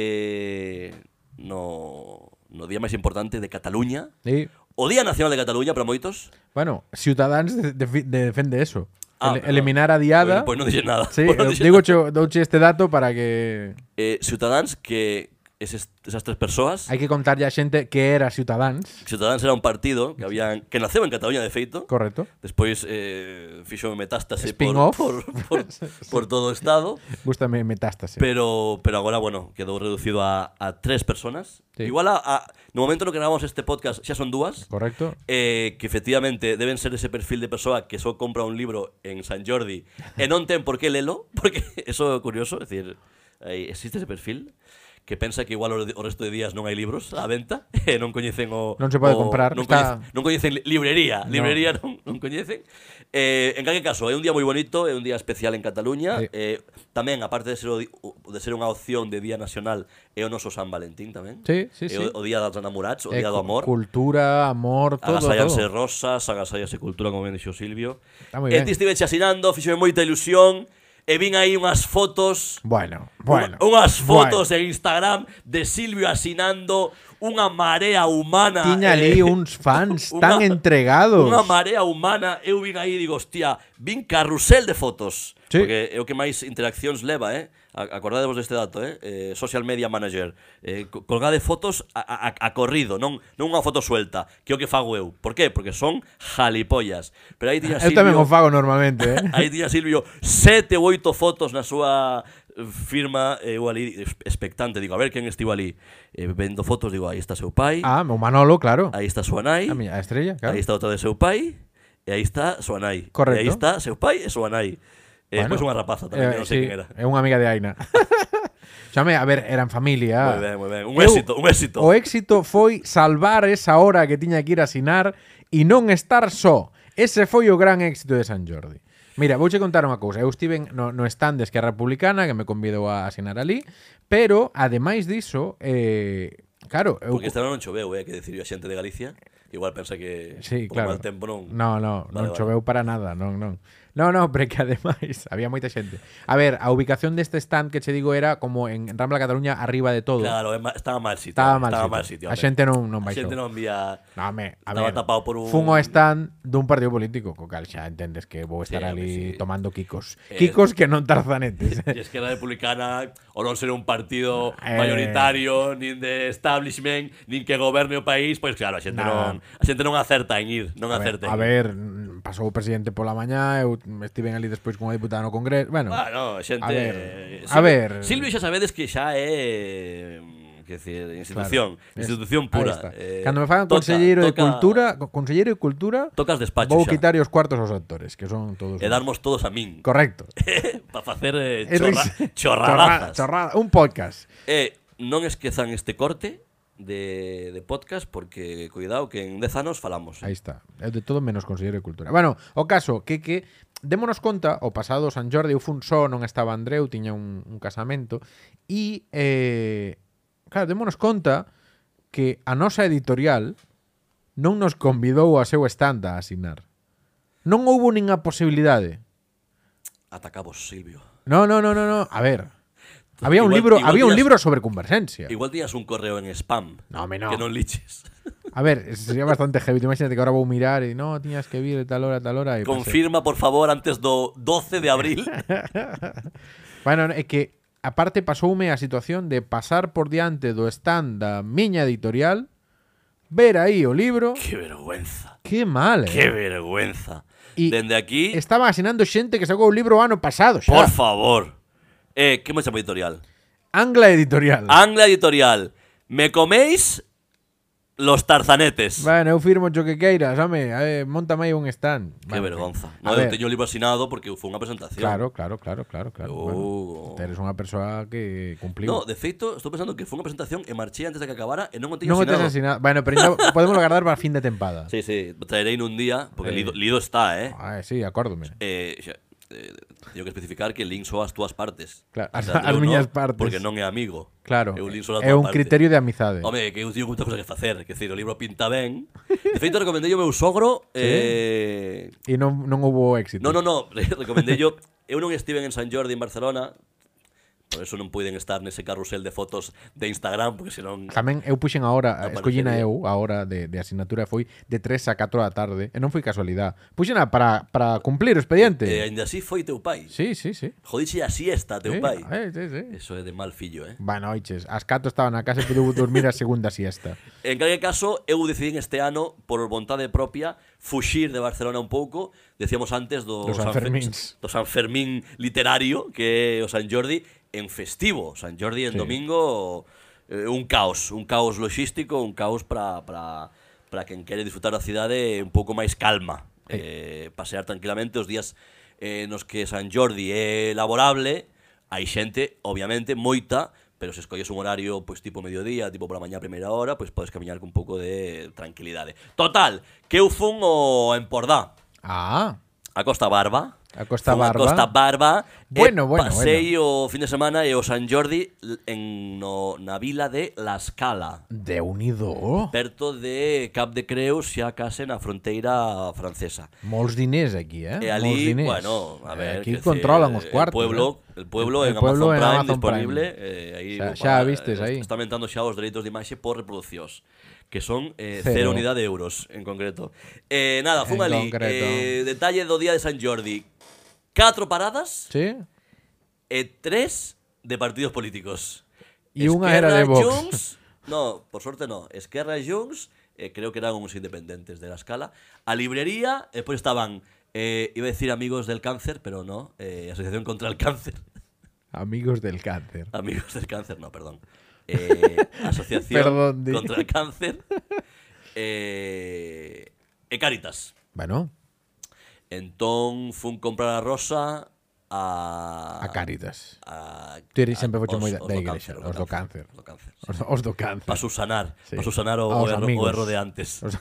[SPEAKER 2] eh, no, no día máis importante de Cataluña.
[SPEAKER 1] E,
[SPEAKER 2] O Día Nacional de Cataluña para moitos.
[SPEAKER 1] bueno, Ciutadans de- de- defende eso.
[SPEAKER 2] Ah,
[SPEAKER 1] Ele-
[SPEAKER 2] perdón.
[SPEAKER 1] eliminar a Diada.
[SPEAKER 2] Pois, pois non pues dixen nada. *laughs*
[SPEAKER 1] Sí,
[SPEAKER 2] Pois non
[SPEAKER 1] eh,
[SPEAKER 2] dixen
[SPEAKER 1] digo cho, douche este dato para que
[SPEAKER 2] eh, Ciutadans que eses, esas tres persoas
[SPEAKER 1] hai que contarlle a xente que era Ciutadans,
[SPEAKER 2] Ciutadans era un partido que habían que naceu en Cataluña de feito
[SPEAKER 1] correcto?
[SPEAKER 2] despois eh, fixo metástase por,
[SPEAKER 1] Spin-off.
[SPEAKER 2] por,
[SPEAKER 1] *laughs*
[SPEAKER 2] por, por todo o estado
[SPEAKER 1] Gústame metástase.
[SPEAKER 2] pero pero agora bueno quedou reducido a, a tres personas
[SPEAKER 1] Sí.
[SPEAKER 2] igual a, a no momento no que grabamos este podcast xa son dúas
[SPEAKER 1] correcto?
[SPEAKER 2] eh, que efectivamente deben ser ese perfil de persoa que só compra un libro en San Jordi e non ten por que lelo, *laughs* porque eso é curioso, é dicir, aí existe ese perfil que pensa que igual o, o resto de días non hai libros á venta *laughs* e non coñecen o...
[SPEAKER 1] Non se pode
[SPEAKER 2] o-
[SPEAKER 1] comprar,
[SPEAKER 2] Non,
[SPEAKER 1] está-
[SPEAKER 2] coñecen, non coñecen li- librería, librería *laughs* non, non coñecen. Eh, en calquer caso, é un día moi bonito, é un día especial en Cataluña.
[SPEAKER 1] Sí.
[SPEAKER 2] Eh, tamén, aparte de ser, o, di- o- de ser unha opción de Día Nacional, é o noso San Valentín tamén.
[SPEAKER 1] Sí, sí,
[SPEAKER 2] É
[SPEAKER 1] sí.
[SPEAKER 2] O, o Día dos Enamorats, o
[SPEAKER 1] Eh,
[SPEAKER 2] Día
[SPEAKER 1] cu-
[SPEAKER 2] do Amor.
[SPEAKER 1] Cultura, amor, todo,
[SPEAKER 2] Agasallarse
[SPEAKER 1] todo.
[SPEAKER 2] rosas, agasallarse cultura, como ben dixo Silvio.
[SPEAKER 1] Está moi
[SPEAKER 2] E
[SPEAKER 1] ben.
[SPEAKER 2] ti estive chasinando, fixome moita ilusión, e vin aí unhas fotos...
[SPEAKER 1] Bueno, bueno.
[SPEAKER 2] un- Unhas
[SPEAKER 1] bueno.
[SPEAKER 2] fotos en Instagram de Silvio asinando unha marea humana.
[SPEAKER 1] Tiña ali
[SPEAKER 2] eh,
[SPEAKER 1] uns fans
[SPEAKER 2] *laughs* unha-
[SPEAKER 1] tan entregados.
[SPEAKER 2] Unha marea humana, eu vin aí e digo, hostia, vin carrusel de fotos.
[SPEAKER 1] Sí.
[SPEAKER 2] Porque é o que máis interaccións leva, eh? A- Acordadevos deste dato, eh? eh social Media Manager. Eh, co- colgade fotos a, a, a corrido, non, non unha foto suelta, que é o que fago eu. Por qué? Porque son jalipollas. Pero aí
[SPEAKER 1] *laughs*
[SPEAKER 2] tiña
[SPEAKER 1] Eu tamén
[SPEAKER 2] Silvio...
[SPEAKER 1] o
[SPEAKER 2] *laughs*
[SPEAKER 1] fago normalmente, eh.
[SPEAKER 2] Aí tiña Silvio sete ou oito fotos na súa firma eh, eu ali es- expectante, digo, a ver quen estivo ali eh, vendo fotos, digo, aí está seu pai
[SPEAKER 1] Ah, o Manolo, claro.
[SPEAKER 2] aí está súa
[SPEAKER 1] A
[SPEAKER 2] nai
[SPEAKER 1] miña a estrella, claro.
[SPEAKER 2] Aí está outra de seu pai e aí está súa nai.
[SPEAKER 1] Correcto.
[SPEAKER 2] E aí está seu pai e súa nai. E
[SPEAKER 1] Bueno.
[SPEAKER 2] despois unha rapaza tamén,
[SPEAKER 1] Eh,
[SPEAKER 2] que non sei
[SPEAKER 1] sí,
[SPEAKER 2] quen era.
[SPEAKER 1] É unha amiga de Aina. *laughs* Xame, a ver, eran familia.
[SPEAKER 2] Moi ben, moi ben. Un
[SPEAKER 1] Ah. Eu-
[SPEAKER 2] éxito, un éxito.
[SPEAKER 1] O éxito foi salvar esa hora que tiña que ir a asinar e non estar só. Ese foi o gran éxito de San Jordi. Mira, vouche contar unha cousa. Eu estive en- no, no stand de Esquerra Republicana que me convidou a asinar ali, pero, ademais diso, eh, claro... Eu,
[SPEAKER 2] Porque esta non choveu, eh, que decidiu a xente de Galicia. que Igual pensa que
[SPEAKER 1] Sí,
[SPEAKER 2] por
[SPEAKER 1] claro.
[SPEAKER 2] mal tempo non...
[SPEAKER 1] No, no,
[SPEAKER 2] Vale,
[SPEAKER 1] non
[SPEAKER 2] vale.
[SPEAKER 1] choveu para nada, non, non. No, *laughs* no, pero que ademais había moita xente. A ver, a ubicación deste stand que che digo era como en Rambla Cataluña arriba de todo.
[SPEAKER 2] Claro, é ma- estaba mal sitio.
[SPEAKER 1] Estaba mal
[SPEAKER 2] estaba
[SPEAKER 1] sitio.
[SPEAKER 2] mal sitio
[SPEAKER 1] a
[SPEAKER 2] home.
[SPEAKER 1] xente non non
[SPEAKER 2] A
[SPEAKER 1] baixou.
[SPEAKER 2] xente non vía...
[SPEAKER 1] *laughs* No, home, a
[SPEAKER 2] Estaba
[SPEAKER 1] ver,
[SPEAKER 2] tapado por un-
[SPEAKER 1] Fun ao stand dun partido político, co cal xa entendes que vou estar
[SPEAKER 2] Sí, home,
[SPEAKER 1] ali
[SPEAKER 2] sí.
[SPEAKER 1] tomando kikos.
[SPEAKER 2] Eh,
[SPEAKER 1] Kikos que non
[SPEAKER 2] *laughs*
[SPEAKER 1] tarzanetes.
[SPEAKER 2] E Esquerra Republicana, o non ser un partido
[SPEAKER 1] Eh.
[SPEAKER 2] mayoritario, nin de establishment, nin que goberne o país, pois claro, a xente,
[SPEAKER 1] Nah.
[SPEAKER 2] non, a xente non acerta en ir, non
[SPEAKER 1] A ver,
[SPEAKER 2] acerta en
[SPEAKER 1] a
[SPEAKER 2] ir.
[SPEAKER 1] ver, mm, pasou o presidente pola mañá, eu estiven ali despois cunha diputada no Congreso. Bueno,
[SPEAKER 2] Ah, no, xente...
[SPEAKER 1] A ver,
[SPEAKER 2] eh,
[SPEAKER 1] a ver.
[SPEAKER 2] Silvio xa sabedes que xa é... Que decir, institución,
[SPEAKER 1] Claro.
[SPEAKER 2] institución
[SPEAKER 1] Es-
[SPEAKER 2] pura.
[SPEAKER 1] ahí está.
[SPEAKER 2] Eh,
[SPEAKER 1] Cando me fagan
[SPEAKER 2] toca-
[SPEAKER 1] conselleiro de
[SPEAKER 2] toca-
[SPEAKER 1] cultura, co- conselleiro de cultura,
[SPEAKER 2] Tocas despacho
[SPEAKER 1] vou
[SPEAKER 2] xa.
[SPEAKER 1] quitar os cuartos aos actores, que son todos.
[SPEAKER 2] E darmos todos a min. *laughs*
[SPEAKER 1] Correcto.
[SPEAKER 2] Para facer eh,
[SPEAKER 1] É
[SPEAKER 2] chorra,
[SPEAKER 1] risa.
[SPEAKER 2] *laughs* chorrarazas.
[SPEAKER 1] Chorra- chorra- un podcast.
[SPEAKER 2] Eh, non esquezan este corte de, de podcast porque, cuidado, que en 10 anos falamos.
[SPEAKER 1] Aí está. É de todo menos conselleiro de cultura. Bueno, o caso que que démonos conta, o pasado San Jordi eu fun só, non estaba Andreu, tiña un, un casamento e eh, claro, démonos conta que a nosa editorial non nos convidou a seu stand a asinar. Non houbo nin a posibilidade.
[SPEAKER 2] Atacabos, Silvio.
[SPEAKER 1] No, no, no, no, no. A ver. Había un
[SPEAKER 2] Igual-
[SPEAKER 1] libro,
[SPEAKER 2] igual
[SPEAKER 1] había un
[SPEAKER 2] tiras-
[SPEAKER 1] libro sobre conversencia.
[SPEAKER 2] Igual tiñas un correo en spam.
[SPEAKER 1] No, home, no.
[SPEAKER 2] Que non liches.
[SPEAKER 1] A ver, sería bastante heavy. Tú Imagínate que ahora vou mirar e no, tiñas que vir de tal hora, a tal hora e pois,
[SPEAKER 2] Confirma, por favor, antes do 12 de
[SPEAKER 1] *laughs*
[SPEAKER 2] abril.
[SPEAKER 1] Bueno, é que aparte pasoume a situación de pasar por diante do stand da miña editorial, ver aí o libro,
[SPEAKER 2] Qué vergüenza.
[SPEAKER 1] que mal,
[SPEAKER 2] *laughs* Qué
[SPEAKER 1] eh.
[SPEAKER 2] vergüenza.
[SPEAKER 1] Y
[SPEAKER 2] Dende aquí,
[SPEAKER 1] Estaba asinando xente que sacou o libro o ano pasado, xa.
[SPEAKER 2] por favor. Eh, que me chama editorial?
[SPEAKER 1] Angla Editorial.
[SPEAKER 2] Angla Editorial. Me coméis los tarzanetes.
[SPEAKER 1] Bueno, eu firmo o que queiras, home, eh, montame aí un stand.
[SPEAKER 2] Qué
[SPEAKER 1] Bueno,
[SPEAKER 2] vergonza.
[SPEAKER 1] a
[SPEAKER 2] No, este eu
[SPEAKER 1] ver.
[SPEAKER 2] teño o libro asinado porque foi unha presentación.
[SPEAKER 1] Claro, claro, claro, claro, claro.
[SPEAKER 2] Oh.
[SPEAKER 1] Bueno, eres unha persoa que cumpliu.
[SPEAKER 2] No, de feito, estou pensando que foi unha presentación e marchei antes de que acabara e non o teño
[SPEAKER 1] non o tes
[SPEAKER 2] asinado.
[SPEAKER 1] asinado. Bueno, pero ainda *laughs* podemos guardar para fin de tempada.
[SPEAKER 2] Sí, sí, traerei nun día, porque
[SPEAKER 1] Eh.
[SPEAKER 2] lido, lido está, eh.
[SPEAKER 1] Ah, sí, acórdome.
[SPEAKER 2] Eh, xa- eh, teño que especificar que Link só as túas partes.
[SPEAKER 1] Claro,
[SPEAKER 2] O
[SPEAKER 1] as- *laughs*
[SPEAKER 2] sea,
[SPEAKER 1] as
[SPEAKER 2] eu
[SPEAKER 1] miñas
[SPEAKER 2] non,
[SPEAKER 1] partes.
[SPEAKER 2] Porque non é amigo.
[SPEAKER 1] Claro,
[SPEAKER 2] Eu Link só
[SPEAKER 1] é
[SPEAKER 2] as
[SPEAKER 1] un
[SPEAKER 2] túas partes.
[SPEAKER 1] criterio de amizade.
[SPEAKER 2] Home, que eu teño moita cosa que facer, que decir, o libro pinta ben. De feito, recomendei o meu sogro eh,
[SPEAKER 1] E non, non houbo éxito.
[SPEAKER 2] No, no, no, *laughs* recomendé yo. Eu non estiven en San Jordi en Barcelona, por eso non puiden estar nese carrusel de fotos de Instagram, porque senón
[SPEAKER 1] Tamén eu puxen a hora,
[SPEAKER 2] Aparecería.
[SPEAKER 1] escollina eu a hora de, de asignatura foi de 3 a 4 da tarde e non foi casualidade. Puxena para, para cumplir o expediente.
[SPEAKER 2] eh, ainda así foi teu pai.
[SPEAKER 1] sí, sí, sí.
[SPEAKER 2] Jodiche a siesta teu
[SPEAKER 1] Sí,
[SPEAKER 2] pai.
[SPEAKER 1] eh, sí, sí.
[SPEAKER 2] Eso é de mal fillo, eh.
[SPEAKER 1] Ba noiches, as cato estaba na casa e pude dormir
[SPEAKER 2] *laughs*
[SPEAKER 1] a segunda siesta.
[SPEAKER 2] En calquer caso, eu decidín este ano, por vontade propia, fuxir de Barcelona un pouco. Decíamos antes do,
[SPEAKER 1] Dos
[SPEAKER 2] San Fer-
[SPEAKER 1] Sanfermíns.
[SPEAKER 2] do San Fermín literario, que é o San Jordi, en festivo. San Jordi en
[SPEAKER 1] Sí.
[SPEAKER 2] domingo, eh, un caos. Un caos logístico, un caos para para para quen quere disfrutar da cidade un pouco máis calma. Eh, pasear tranquilamente os días eh, nos que San Jordi é laborable, hai xente, obviamente, moita, pero se escolles un horario pois tipo mediodía, tipo pola mañá a primeira hora, pois podes camiñar con un pouco de tranquilidade. Total, que eu fun o en Empordá,
[SPEAKER 1] Ah,
[SPEAKER 2] a Costa Barba.
[SPEAKER 1] A Costa
[SPEAKER 2] Fun
[SPEAKER 1] Barba.
[SPEAKER 2] A Costa Barba.
[SPEAKER 1] Bueno, bueno,
[SPEAKER 2] Pasei o fin de semana e o San Jordi l- en no, na vila de La Scala.
[SPEAKER 1] de unido.
[SPEAKER 2] Perto de Cap de Creus, xa case na fronteira francesa.
[SPEAKER 1] Molts diners aquí, eh?
[SPEAKER 2] E
[SPEAKER 1] Molts
[SPEAKER 2] ali,
[SPEAKER 1] diners. Eh,
[SPEAKER 2] bueno, a ver...
[SPEAKER 1] aquí
[SPEAKER 2] quer decir,
[SPEAKER 1] controlan os
[SPEAKER 2] el
[SPEAKER 1] cuartos.
[SPEAKER 2] Pueblo,
[SPEAKER 1] eh?
[SPEAKER 2] El pueblo, en Amazon Prime disponible. eh, aí,
[SPEAKER 1] Xa-
[SPEAKER 2] opa,
[SPEAKER 1] xa vistes aí.
[SPEAKER 2] Están ventando xa os dereitos de imaxe por reproducións que son eh,
[SPEAKER 1] Cero.
[SPEAKER 2] cero. unidade de euros en concreto. Eh, nada, fun
[SPEAKER 1] En
[SPEAKER 2] ali.
[SPEAKER 1] concreto.
[SPEAKER 2] Eh, detalle do día de San Jordi. Catro paradas
[SPEAKER 1] Sí?
[SPEAKER 2] e tres de partidos políticos.
[SPEAKER 1] E unha era de
[SPEAKER 2] Esquerra,
[SPEAKER 1] Vox.
[SPEAKER 2] Junts, no, por sorte no. Esquerra e Junts, eh, creo que eran uns independentes de la escala. A librería, e despois estaban, eh, iba a decir amigos del cáncer, pero no, eh, Asociación contra el cáncer. *laughs*
[SPEAKER 1] Amigos del cáncer.
[SPEAKER 2] Amigos del cáncer, no, perdón. Eh, Asociación
[SPEAKER 1] *laughs* Perdón, di.
[SPEAKER 2] contra el cáncer. Eh, e Caritas.
[SPEAKER 1] Bueno,
[SPEAKER 2] Entón fun comprar a Rosa a...
[SPEAKER 1] a Cáritas.
[SPEAKER 2] a,
[SPEAKER 1] Ti eres sempre foche
[SPEAKER 2] os-
[SPEAKER 1] moi da-
[SPEAKER 2] os
[SPEAKER 1] da
[SPEAKER 2] do
[SPEAKER 1] igrexa,
[SPEAKER 2] cáncer,
[SPEAKER 1] os do cáncer.
[SPEAKER 2] Os do cáncer.
[SPEAKER 1] Os, os do cáncer.
[SPEAKER 2] Para subsanar,
[SPEAKER 1] Sí.
[SPEAKER 2] pa subsanar o,
[SPEAKER 1] Aos
[SPEAKER 2] o erro,
[SPEAKER 1] amigos.
[SPEAKER 2] o erro de antes. *laughs*
[SPEAKER 1] Os-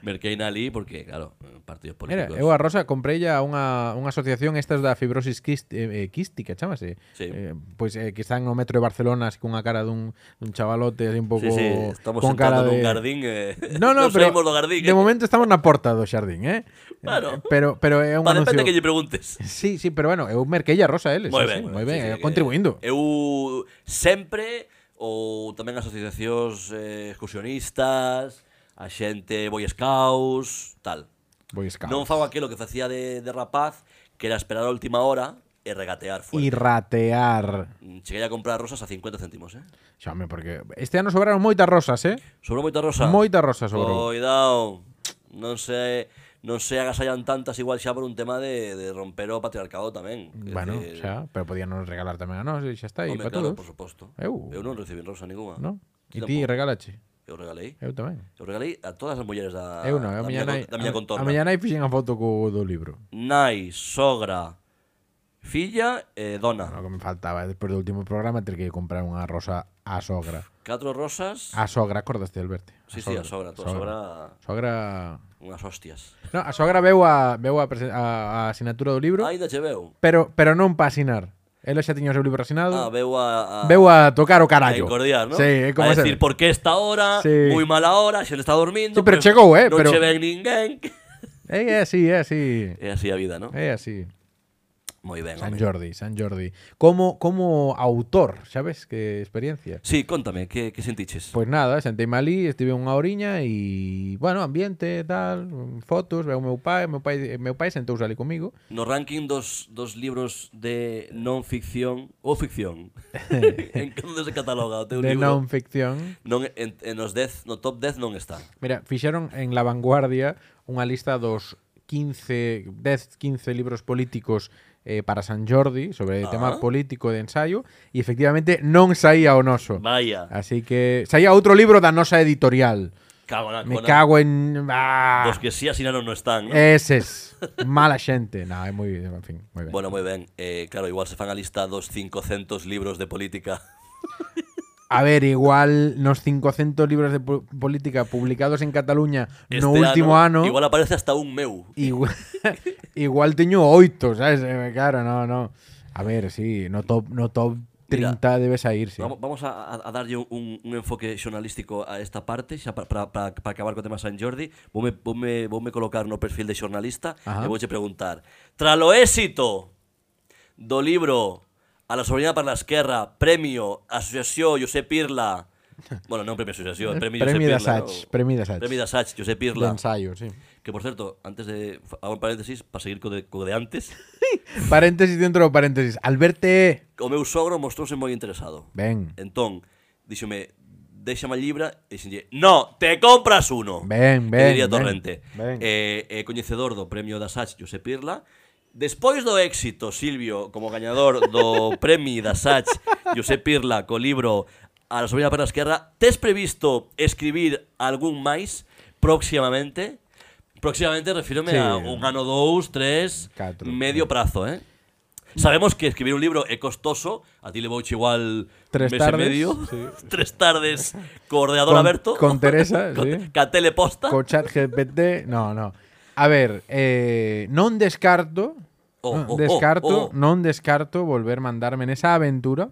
[SPEAKER 2] Merquei na ali porque, claro, partidos
[SPEAKER 1] Mira,
[SPEAKER 2] políticos.
[SPEAKER 1] eu a Rosa comprei a unha, unha asociación estas da fibrosis quist, eh, eh, quística, chamase.
[SPEAKER 2] Sí.
[SPEAKER 1] Eh, pois eh, que están no metro de Barcelona así cunha cara dun, dun chavalote así un pouco
[SPEAKER 2] sí, sí, estamos
[SPEAKER 1] con cara
[SPEAKER 2] entrando
[SPEAKER 1] de
[SPEAKER 2] nun gardín. Eh,
[SPEAKER 1] *laughs* No, no,
[SPEAKER 2] *laughs* non
[SPEAKER 1] pero
[SPEAKER 2] saímos do gardín.
[SPEAKER 1] de
[SPEAKER 2] eh.
[SPEAKER 1] momento estamos na porta do xardín, eh?
[SPEAKER 2] Claro.
[SPEAKER 1] Eh, Pero pero é un
[SPEAKER 2] Pa
[SPEAKER 1] anuncio.
[SPEAKER 2] depende que lle preguntes.
[SPEAKER 1] Sí, sí, pero bueno, eu merquei a Rosa eles,
[SPEAKER 2] Moi
[SPEAKER 1] sí,
[SPEAKER 2] ben,
[SPEAKER 1] sí, moi
[SPEAKER 2] sí,
[SPEAKER 1] ben,
[SPEAKER 2] sí,
[SPEAKER 1] eh,
[SPEAKER 2] que
[SPEAKER 1] contribuindo.
[SPEAKER 2] Eu sempre ou tamén asociacións eh, excursionistas, a xente Boy Scouts, tal.
[SPEAKER 1] Voy escao.
[SPEAKER 2] Non fago aquilo que facía de, de rapaz, que era esperar a última hora e regatear
[SPEAKER 1] E
[SPEAKER 2] fuerte.
[SPEAKER 1] ratear.
[SPEAKER 2] Mm, Cheguei a comprar rosas a 50 céntimos, eh?
[SPEAKER 1] Xa, home, porque este ano sobraron moitas rosas, eh?
[SPEAKER 2] Sobrou moita rosa?
[SPEAKER 1] Moita rosa sobrou.
[SPEAKER 2] Coidao. Non se non se agasallan tantas igual xa por un tema de, de romper o patriarcado tamén. Quer
[SPEAKER 1] Bueno,
[SPEAKER 2] dicir,
[SPEAKER 1] xa, pero podían nos regalar tamén a nós e xa está, e
[SPEAKER 2] home,
[SPEAKER 1] para todos.
[SPEAKER 2] claro, por suposto.
[SPEAKER 1] Eu-
[SPEAKER 2] eu non recibí rosa ninguna.
[SPEAKER 1] ¿no? E
[SPEAKER 2] Tampouco.
[SPEAKER 1] ti regalache.
[SPEAKER 2] Eu regalei.
[SPEAKER 1] Eu tamén.
[SPEAKER 2] Eu regalei a todas as mulleres da,
[SPEAKER 1] eu non, eu
[SPEAKER 2] Ah, da,
[SPEAKER 1] a miña nai.
[SPEAKER 2] con- da
[SPEAKER 1] a
[SPEAKER 2] miña contorna.
[SPEAKER 1] miña nai fixen a foto co do libro.
[SPEAKER 2] Nai, sogra, filla e
[SPEAKER 1] O
[SPEAKER 2] dona.
[SPEAKER 1] que me faltaba despois do último programa ter que comprar unha rosa á sogra.
[SPEAKER 2] Catro rosas.
[SPEAKER 1] A sogra, acordaste, Alberto?
[SPEAKER 2] sí, sí, a sogra, toda sogra,
[SPEAKER 1] Sogra...
[SPEAKER 2] unhas hostias.
[SPEAKER 1] No, a sogra veu a, veu a, presen- a, a asinatura do libro,
[SPEAKER 2] Ainda che veu.
[SPEAKER 1] pero, pero non para asinar. Ela xa tiña o seu libro asinado.
[SPEAKER 2] Ah, veu a, a
[SPEAKER 1] veu a tocar o carallo.
[SPEAKER 2] A encordiar, ¿no?
[SPEAKER 1] Sí, é como
[SPEAKER 2] a
[SPEAKER 1] se-
[SPEAKER 2] decir, por que esta hora,
[SPEAKER 1] Sí.
[SPEAKER 2] moi mala hora, xente está dormindo.
[SPEAKER 1] Sí, pero chegou, eh,
[SPEAKER 2] Non
[SPEAKER 1] pero-
[SPEAKER 2] che ven ninguén. *laughs*
[SPEAKER 1] É así, é así.
[SPEAKER 2] É así a vida, ¿no?
[SPEAKER 1] É así.
[SPEAKER 2] Moi ben,
[SPEAKER 1] San
[SPEAKER 2] home.
[SPEAKER 1] Jordi, San Jordi. Como, como autor, sabes? Que experiencia.
[SPEAKER 2] Sí, contame, que, que sentiches?
[SPEAKER 1] Pois Pues nada, sentei malí, estive unha oriña e, bueno, ambiente, tal, fotos, veo o meu pai, meu pai, meu pai sentouse ali comigo.
[SPEAKER 2] No ranking dos, dos libros de non ficción ou
[SPEAKER 1] *laughs*
[SPEAKER 2] ficción. en cando se cataloga o teu
[SPEAKER 1] de
[SPEAKER 2] libro?
[SPEAKER 1] non ficción.
[SPEAKER 2] Non, en, en os 10, no top 10 non está.
[SPEAKER 1] Mira, fixeron en La Vanguardia unha lista dos 15, 10, 15 libros políticos eh, para San Jordi sobre ah.
[SPEAKER 2] Ah.
[SPEAKER 1] tema político de ensayo e efectivamente non saía o noso.
[SPEAKER 2] Vaya.
[SPEAKER 1] Así que saía outro libro da nosa editorial.
[SPEAKER 2] Cago na
[SPEAKER 1] Me
[SPEAKER 2] cona.
[SPEAKER 1] cago en... Ah,
[SPEAKER 2] Dos que sí asinaron non están, ¿no?
[SPEAKER 1] Eses. Mala xente. No, é moi... En fin, moi ben.
[SPEAKER 2] Bueno, moi ben. Eh, claro, igual se fan a lista dos 500 libros de política.
[SPEAKER 1] A ver, igual nos 500 libros de po- política publicados en Cataluña *laughs* no
[SPEAKER 2] Este
[SPEAKER 1] último ano,
[SPEAKER 2] Igual aparece hasta un meu.
[SPEAKER 1] igual, *laughs* igual teño oito, sabes? Eh, Claro, no, no. A ver, sí, no top, no top
[SPEAKER 2] Mira,
[SPEAKER 1] 30 debes a ir, sí.
[SPEAKER 2] Vamos, vamos a, a- a darlle un, un enfoque xornalístico a esta parte xa para, para, para, para acabar co tema San Jordi voume, voume, voume colocar no perfil de xornalista
[SPEAKER 1] Ajá.
[SPEAKER 2] Ajá. e vouche preguntar Tras o éxito do libro A la soberanía para la esquerra Premio Asociación
[SPEAKER 1] *laughs*
[SPEAKER 2] Josep Pirla Bueno, non premio
[SPEAKER 1] Eh,
[SPEAKER 2] Asociación, premio,
[SPEAKER 1] Premi da
[SPEAKER 2] Josep Pirla
[SPEAKER 1] Sach, premi da Sach.
[SPEAKER 2] Premio da Sach,
[SPEAKER 1] De
[SPEAKER 2] Josep Pirla
[SPEAKER 1] ensayo, sí.
[SPEAKER 2] Que por certo, antes de... Hago un paréntesis para seguir co de, co de antes *laughs*
[SPEAKER 1] Paréntesis dentro do paréntesis. Alberte,
[SPEAKER 2] O meu sogro mostrouse moi interesado
[SPEAKER 1] ven,
[SPEAKER 2] Entón, díxome, déxame a libra e dixenlle, no, te compras uno.
[SPEAKER 1] Ben,
[SPEAKER 2] Que
[SPEAKER 1] ben,
[SPEAKER 2] diría
[SPEAKER 1] ben,
[SPEAKER 2] Torrente.
[SPEAKER 1] ben.
[SPEAKER 2] Eh, eh, coñecedor do premio da Sach, Josep Pirla. Despois do éxito, Silvio, como gañador
[SPEAKER 1] *laughs*
[SPEAKER 2] do premio da Sach, Josep Pirla, co libro A la soberanía para a esquerra, tes previsto escribir algún máis próximamente? Próximamente
[SPEAKER 1] Sí.
[SPEAKER 2] refírome a un ano, dous, tres,
[SPEAKER 1] Catro.
[SPEAKER 2] medio prazo, eh? Sabemos que escribir un libro é costoso, a ti le vouche igual
[SPEAKER 1] Tres
[SPEAKER 2] mes
[SPEAKER 1] tardes,
[SPEAKER 2] e medio,
[SPEAKER 1] sí.
[SPEAKER 2] *laughs* tres tardes co ordenador
[SPEAKER 1] Con-
[SPEAKER 2] aberto.
[SPEAKER 1] con Teresa,
[SPEAKER 2] *laughs* con,
[SPEAKER 1] sí.
[SPEAKER 2] ca teleposta.
[SPEAKER 1] co chat GPT, no, no. A ver, eh, non descarto,
[SPEAKER 2] Oh,
[SPEAKER 1] non
[SPEAKER 2] oh, oh,
[SPEAKER 1] descarto,
[SPEAKER 2] oh.
[SPEAKER 1] non descarto volver mandarme nesa aventura,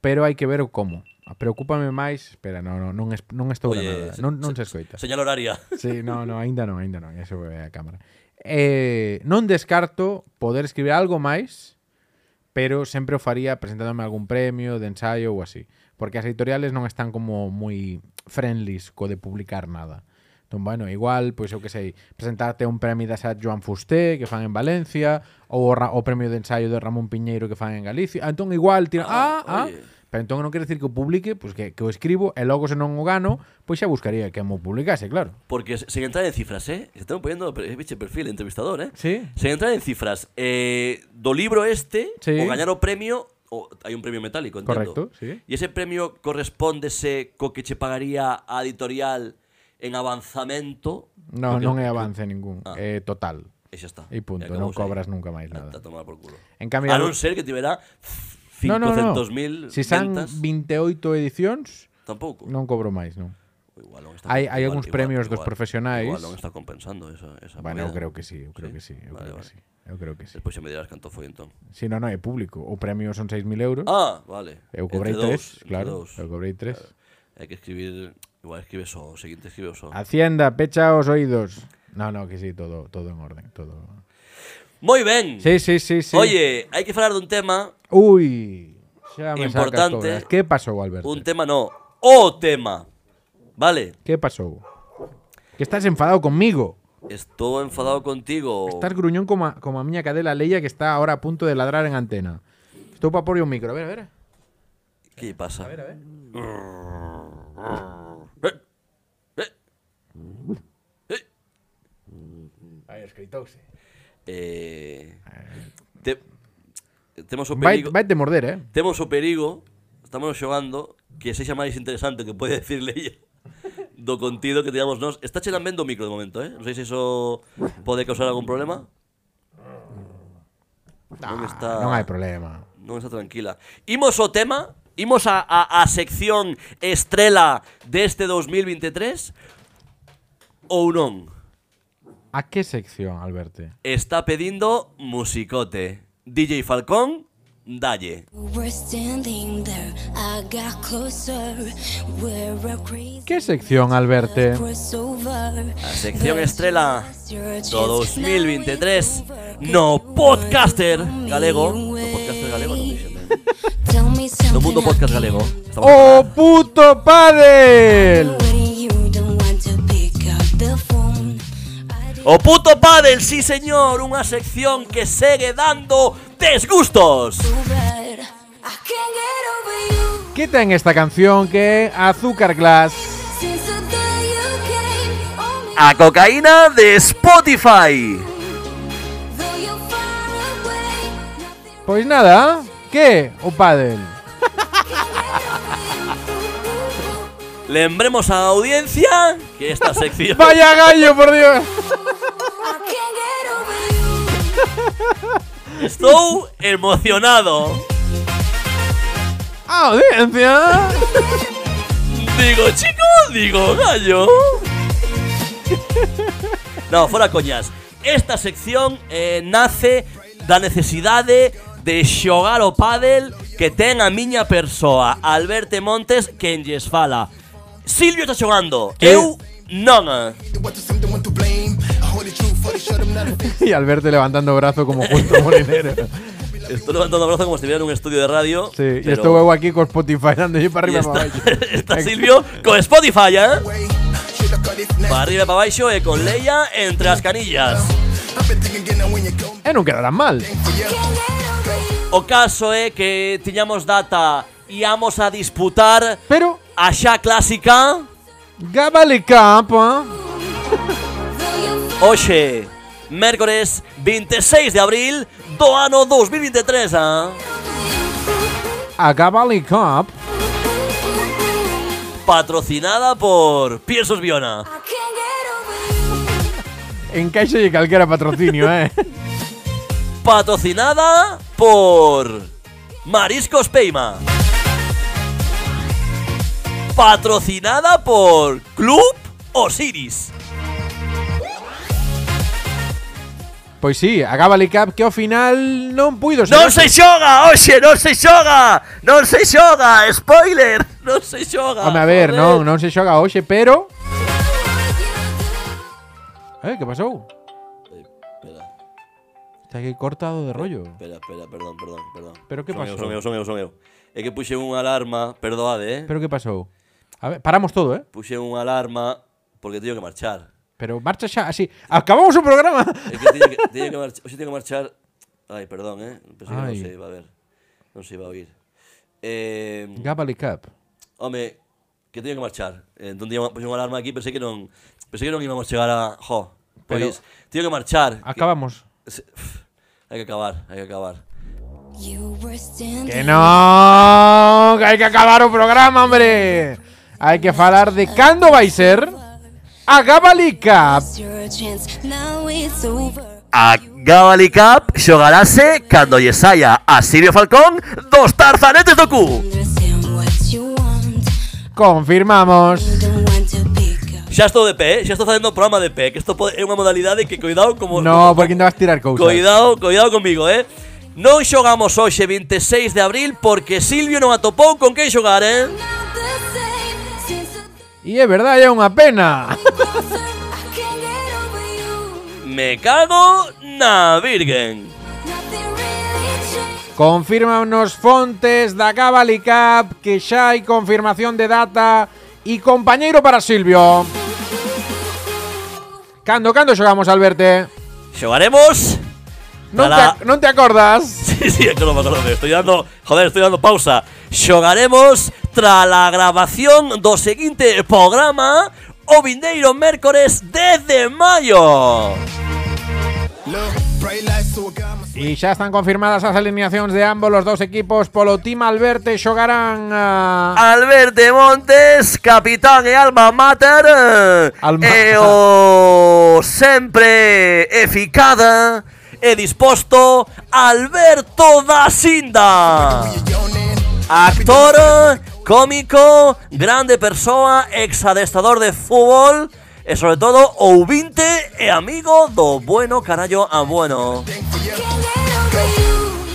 [SPEAKER 1] pero hai que ver o como. Preocúpame máis, espera, no, no, non, es, non estou
[SPEAKER 2] Oye,
[SPEAKER 1] nada,
[SPEAKER 2] se-
[SPEAKER 1] non, non se escoita.
[SPEAKER 2] Señal horaria.
[SPEAKER 1] Sí, no, no, ainda non, ainda non, eso ve a cámara. Eh, non descarto poder escribir algo máis, pero sempre o faría presentándome algún premio de ensaio ou así, porque as editoriales non están como moi friendlies co de publicar nada. Entón, bueno, igual, pois eu que sei, presentarte un premio da SAT Joan Fusté que fan en Valencia, ou o, ra- o premio de ensaio de Ramón Piñeiro que fan en Galicia. Ah, Entón, igual, tira, ah, ah,
[SPEAKER 2] Ah, oye.
[SPEAKER 1] pero entón non quere decir que o publique, pois que, que o escribo e logo se non o gano, pois xa buscaría que mo publicase, claro.
[SPEAKER 2] Porque se- sen entrar en cifras, eh? Se estamos poniendo eh, biche perfil entrevistador, eh?
[SPEAKER 1] Sí.
[SPEAKER 2] Sen entrar en cifras, eh, do libro este,
[SPEAKER 1] Sí.
[SPEAKER 2] o gañar o premio, o, hai un premio metálico, entendo.
[SPEAKER 1] Correcto, sí.
[SPEAKER 2] E ese premio correspóndese co que che pagaría a editorial en avanzamento?
[SPEAKER 1] No,
[SPEAKER 2] Porque-
[SPEAKER 1] non é avance ningún,
[SPEAKER 2] Ah.
[SPEAKER 1] é total.
[SPEAKER 2] E xa está.
[SPEAKER 1] E punto,
[SPEAKER 2] E
[SPEAKER 1] non
[SPEAKER 2] acabou
[SPEAKER 1] cobras
[SPEAKER 2] aí.
[SPEAKER 1] nunca máis
[SPEAKER 2] A, a
[SPEAKER 1] nada.
[SPEAKER 2] tomar por culo.
[SPEAKER 1] En cambio,
[SPEAKER 2] a
[SPEAKER 1] algo-
[SPEAKER 2] Ah, non ser que tivera
[SPEAKER 1] No, no, no.
[SPEAKER 2] 500.000
[SPEAKER 1] Si san
[SPEAKER 2] ventas,
[SPEAKER 1] 28 edicións,
[SPEAKER 2] tampouco.
[SPEAKER 1] non cobro máis, non.
[SPEAKER 2] Pues Igual non está
[SPEAKER 1] Hai-
[SPEAKER 2] compen-
[SPEAKER 1] hai algúns premios dos profesionais.
[SPEAKER 2] Igual non está compensando esa, esa
[SPEAKER 1] Bueno, eu
[SPEAKER 2] moeda.
[SPEAKER 1] creo que sí, eu creo
[SPEAKER 2] Sí?
[SPEAKER 1] que sí, eu
[SPEAKER 2] Vale,
[SPEAKER 1] creo que
[SPEAKER 2] vale.
[SPEAKER 1] sí. Eu creo que sí.
[SPEAKER 2] Despois xa me dirás canto foi entón.
[SPEAKER 1] Si non, non é público, o premio son 6.000 euros.
[SPEAKER 2] Ah, vale.
[SPEAKER 1] Eu cobrei
[SPEAKER 2] Entre
[SPEAKER 1] 3,
[SPEAKER 2] dous, entre
[SPEAKER 1] claro,
[SPEAKER 2] dous.
[SPEAKER 1] eu cobrei 3.
[SPEAKER 2] Hai que escribir... Igual escribe só, o seguinte escribe só.
[SPEAKER 1] Ah. Hacienda, pecha os oídos. No, no, que sí, todo todo en orden, todo.
[SPEAKER 2] Moi ben!
[SPEAKER 1] Sí, sí, sí, sí.
[SPEAKER 2] Oye, hai que falar dun tema...
[SPEAKER 1] Ui, xa me
[SPEAKER 2] Importante.
[SPEAKER 1] sacas todas. Que pasou, Alberto?
[SPEAKER 2] Un tema no. O tema. Vale.
[SPEAKER 1] Que pasou? Que estás enfadado conmigo.
[SPEAKER 2] Estou enfadado contigo.
[SPEAKER 1] Estás gruñón como a, como a miña cadela Leia que está ahora a punto de ladrar en antena. Estou pa porlle un micro, a ver, a ver.
[SPEAKER 2] Que pasa? A ver, a ver.
[SPEAKER 1] Aí, escritouse.
[SPEAKER 2] Eh, te, temos o
[SPEAKER 1] Vai,
[SPEAKER 2] perigo,
[SPEAKER 1] vai te morder, eh.
[SPEAKER 2] temos o perigo, estamos xogando que sexa máis interesante o que pode *laughs* decirle ella do contido que tiramos nós. Está chenan ben do micro de momento, eh? Non sei se iso pode causar algún problema. Non está
[SPEAKER 1] Non hai problema.
[SPEAKER 2] Non está tranquila. Imos ao tema, imos a, a, a sección estrela este deste 2023 ou non?
[SPEAKER 1] A que sección, Alberto?
[SPEAKER 2] Está pedindo musicote. DJ Falcón, dalle.
[SPEAKER 4] We're standing there, I got closer. We're a crazy
[SPEAKER 1] Que sección, Alberto?
[SPEAKER 4] crossover.
[SPEAKER 2] A sección estrela do 2023 no
[SPEAKER 4] no
[SPEAKER 2] podcaster galego. No podcaster galego, non dixen. No mundo podcast galego. Estamos
[SPEAKER 1] ¡Oh, puto pádel!
[SPEAKER 2] O Oh, puto pádel, sí señor, unha sección que segue dando desgustos.
[SPEAKER 1] Que ten esta canción que é Azúcar Glass?
[SPEAKER 2] A cocaína de Spotify.
[SPEAKER 1] Pois Pues nada, que o pádel?
[SPEAKER 2] Lembremos a audiencia que
[SPEAKER 1] *laughs*
[SPEAKER 2] esta sección
[SPEAKER 1] Vaya gallo, por Dios.
[SPEAKER 2] Estou emocionado.
[SPEAKER 1] ¡Audiencia!
[SPEAKER 2] Digo, chico, digo, gallo. No, fuera coñas. Esta sección eh, nace da necesidade de xogar o pádel que ten a miña persoa, Alberto Montes, quen lles fala. Silvio está xogando,
[SPEAKER 1] Que-
[SPEAKER 2] eu non.
[SPEAKER 1] y Alberto levantando brazo como justo molinero.
[SPEAKER 2] Estou levantando o brazo como se estivera nun estudio de radio.
[SPEAKER 1] Sí, y
[SPEAKER 2] pero-
[SPEAKER 1] esto huevo aquí con Spotify dando yo para
[SPEAKER 2] e
[SPEAKER 1] arriba y para
[SPEAKER 2] está,
[SPEAKER 1] abajo.
[SPEAKER 2] *laughs* está Silvio con Spotify, eh? Para arriba e para baixo e con Leia entre as canillas.
[SPEAKER 1] Eh, no quedarán mal.
[SPEAKER 2] O caso é que tiñamos data íamos a disputar
[SPEAKER 1] Pero,
[SPEAKER 2] a xa clásica
[SPEAKER 1] Gabale Capa.
[SPEAKER 2] hoxe, mércores 26 de abril do ano 2023, ah?
[SPEAKER 1] A Gabale Cup.
[SPEAKER 2] patrocinada por Piensos Biona.
[SPEAKER 1] En calle de cualquiera patrocinio,
[SPEAKER 2] *laughs*
[SPEAKER 1] eh.
[SPEAKER 2] Patrocinada por Mariscos Peima. Patrocinada por Club Osiris.
[SPEAKER 1] Pois Pues sí, a Gabale Cup que ao final non puido ser.
[SPEAKER 2] Non se xoga, oxe, non se xoga Non se xoga, spoiler Non se xoga
[SPEAKER 1] Home, a ver, non,
[SPEAKER 2] joder.
[SPEAKER 1] non se xoga hoxe, pero... Eh, que pasou?
[SPEAKER 2] Espera,
[SPEAKER 1] Está aquí cortado de rollo.
[SPEAKER 2] espera, espera, perdón, perdón, perdón
[SPEAKER 1] Pero que
[SPEAKER 2] Son eu,
[SPEAKER 1] pasou?
[SPEAKER 2] Son eu, son eu, son eu É que puxe unha alarma, perdoade, eh
[SPEAKER 1] Pero que pasou? A ver, paramos todo, eh?
[SPEAKER 2] Puxe unha alarma porque teño que marchar
[SPEAKER 1] Pero marcha xa, así. Acabamos o programa.
[SPEAKER 2] É que teño que, *laughs* teño que marchar Oxe, teño que marchar Ai, perdón, eh Pensei que non
[SPEAKER 1] Ai.
[SPEAKER 2] se iba a ver Non se iba a oír Eh,
[SPEAKER 1] Gabale Cup.
[SPEAKER 2] home, que teño que marchar. Eh, Entón tiña puxen unha alarma aquí, pensei que non pensei que non íbamos chegar a, jo, pois teño que marchar. que-
[SPEAKER 1] Acabamos.
[SPEAKER 2] Se- *sighs* Hay que acabar, hay que acabar.
[SPEAKER 1] Que no, que hai que acabar o programa, hombre. Hai que falar de cando vai ser a Gabale Cup.
[SPEAKER 2] A Gabali Cup xogarase cando lle saia a Silvio Falcón dos tarzanetes do cu.
[SPEAKER 1] Confirmamos.
[SPEAKER 2] Xa estou de pé, eh? xa estou facendo programa de pé, que isto pode- é unha modalidade que coidado como *laughs*
[SPEAKER 1] No, porque ainda vas tirar cousas.
[SPEAKER 2] Coidado, coidado comigo, eh. Non xogamos hoxe 26 de abril porque Silvio non atopou con quen xogar, eh.
[SPEAKER 1] E é verdade, é unha pena.
[SPEAKER 2] Me cago na virgen.
[SPEAKER 1] Confírmanos fontes da Gabali Cup que xa hai confirmación de data e compañeiro para Silvio. Cando, cando xogamos, Alberto?
[SPEAKER 2] Xogaremos
[SPEAKER 1] Non, te,
[SPEAKER 2] Para-
[SPEAKER 1] ac- non te acordas?
[SPEAKER 2] *laughs* Sí, sí, es que no me acuerdo. Estoy dando. Joder, estoy dando pausa. Xogaremos tras la grabación do seguinte programa o vindeiro mércores 10 de maio.
[SPEAKER 1] E xa están confirmadas as alineacións de ambos os dous equipos polo Team Alberto xogarán a...
[SPEAKER 2] Alberto Montes, capitán e alma mater. eh,
[SPEAKER 1] Alma-
[SPEAKER 2] E o sempre eficada e disposto Alberto da Sinda. Actor, cómico, grande persoa, exadestador de fútbol e sobre todo ouvinte e amigo do bueno carallo a bueno.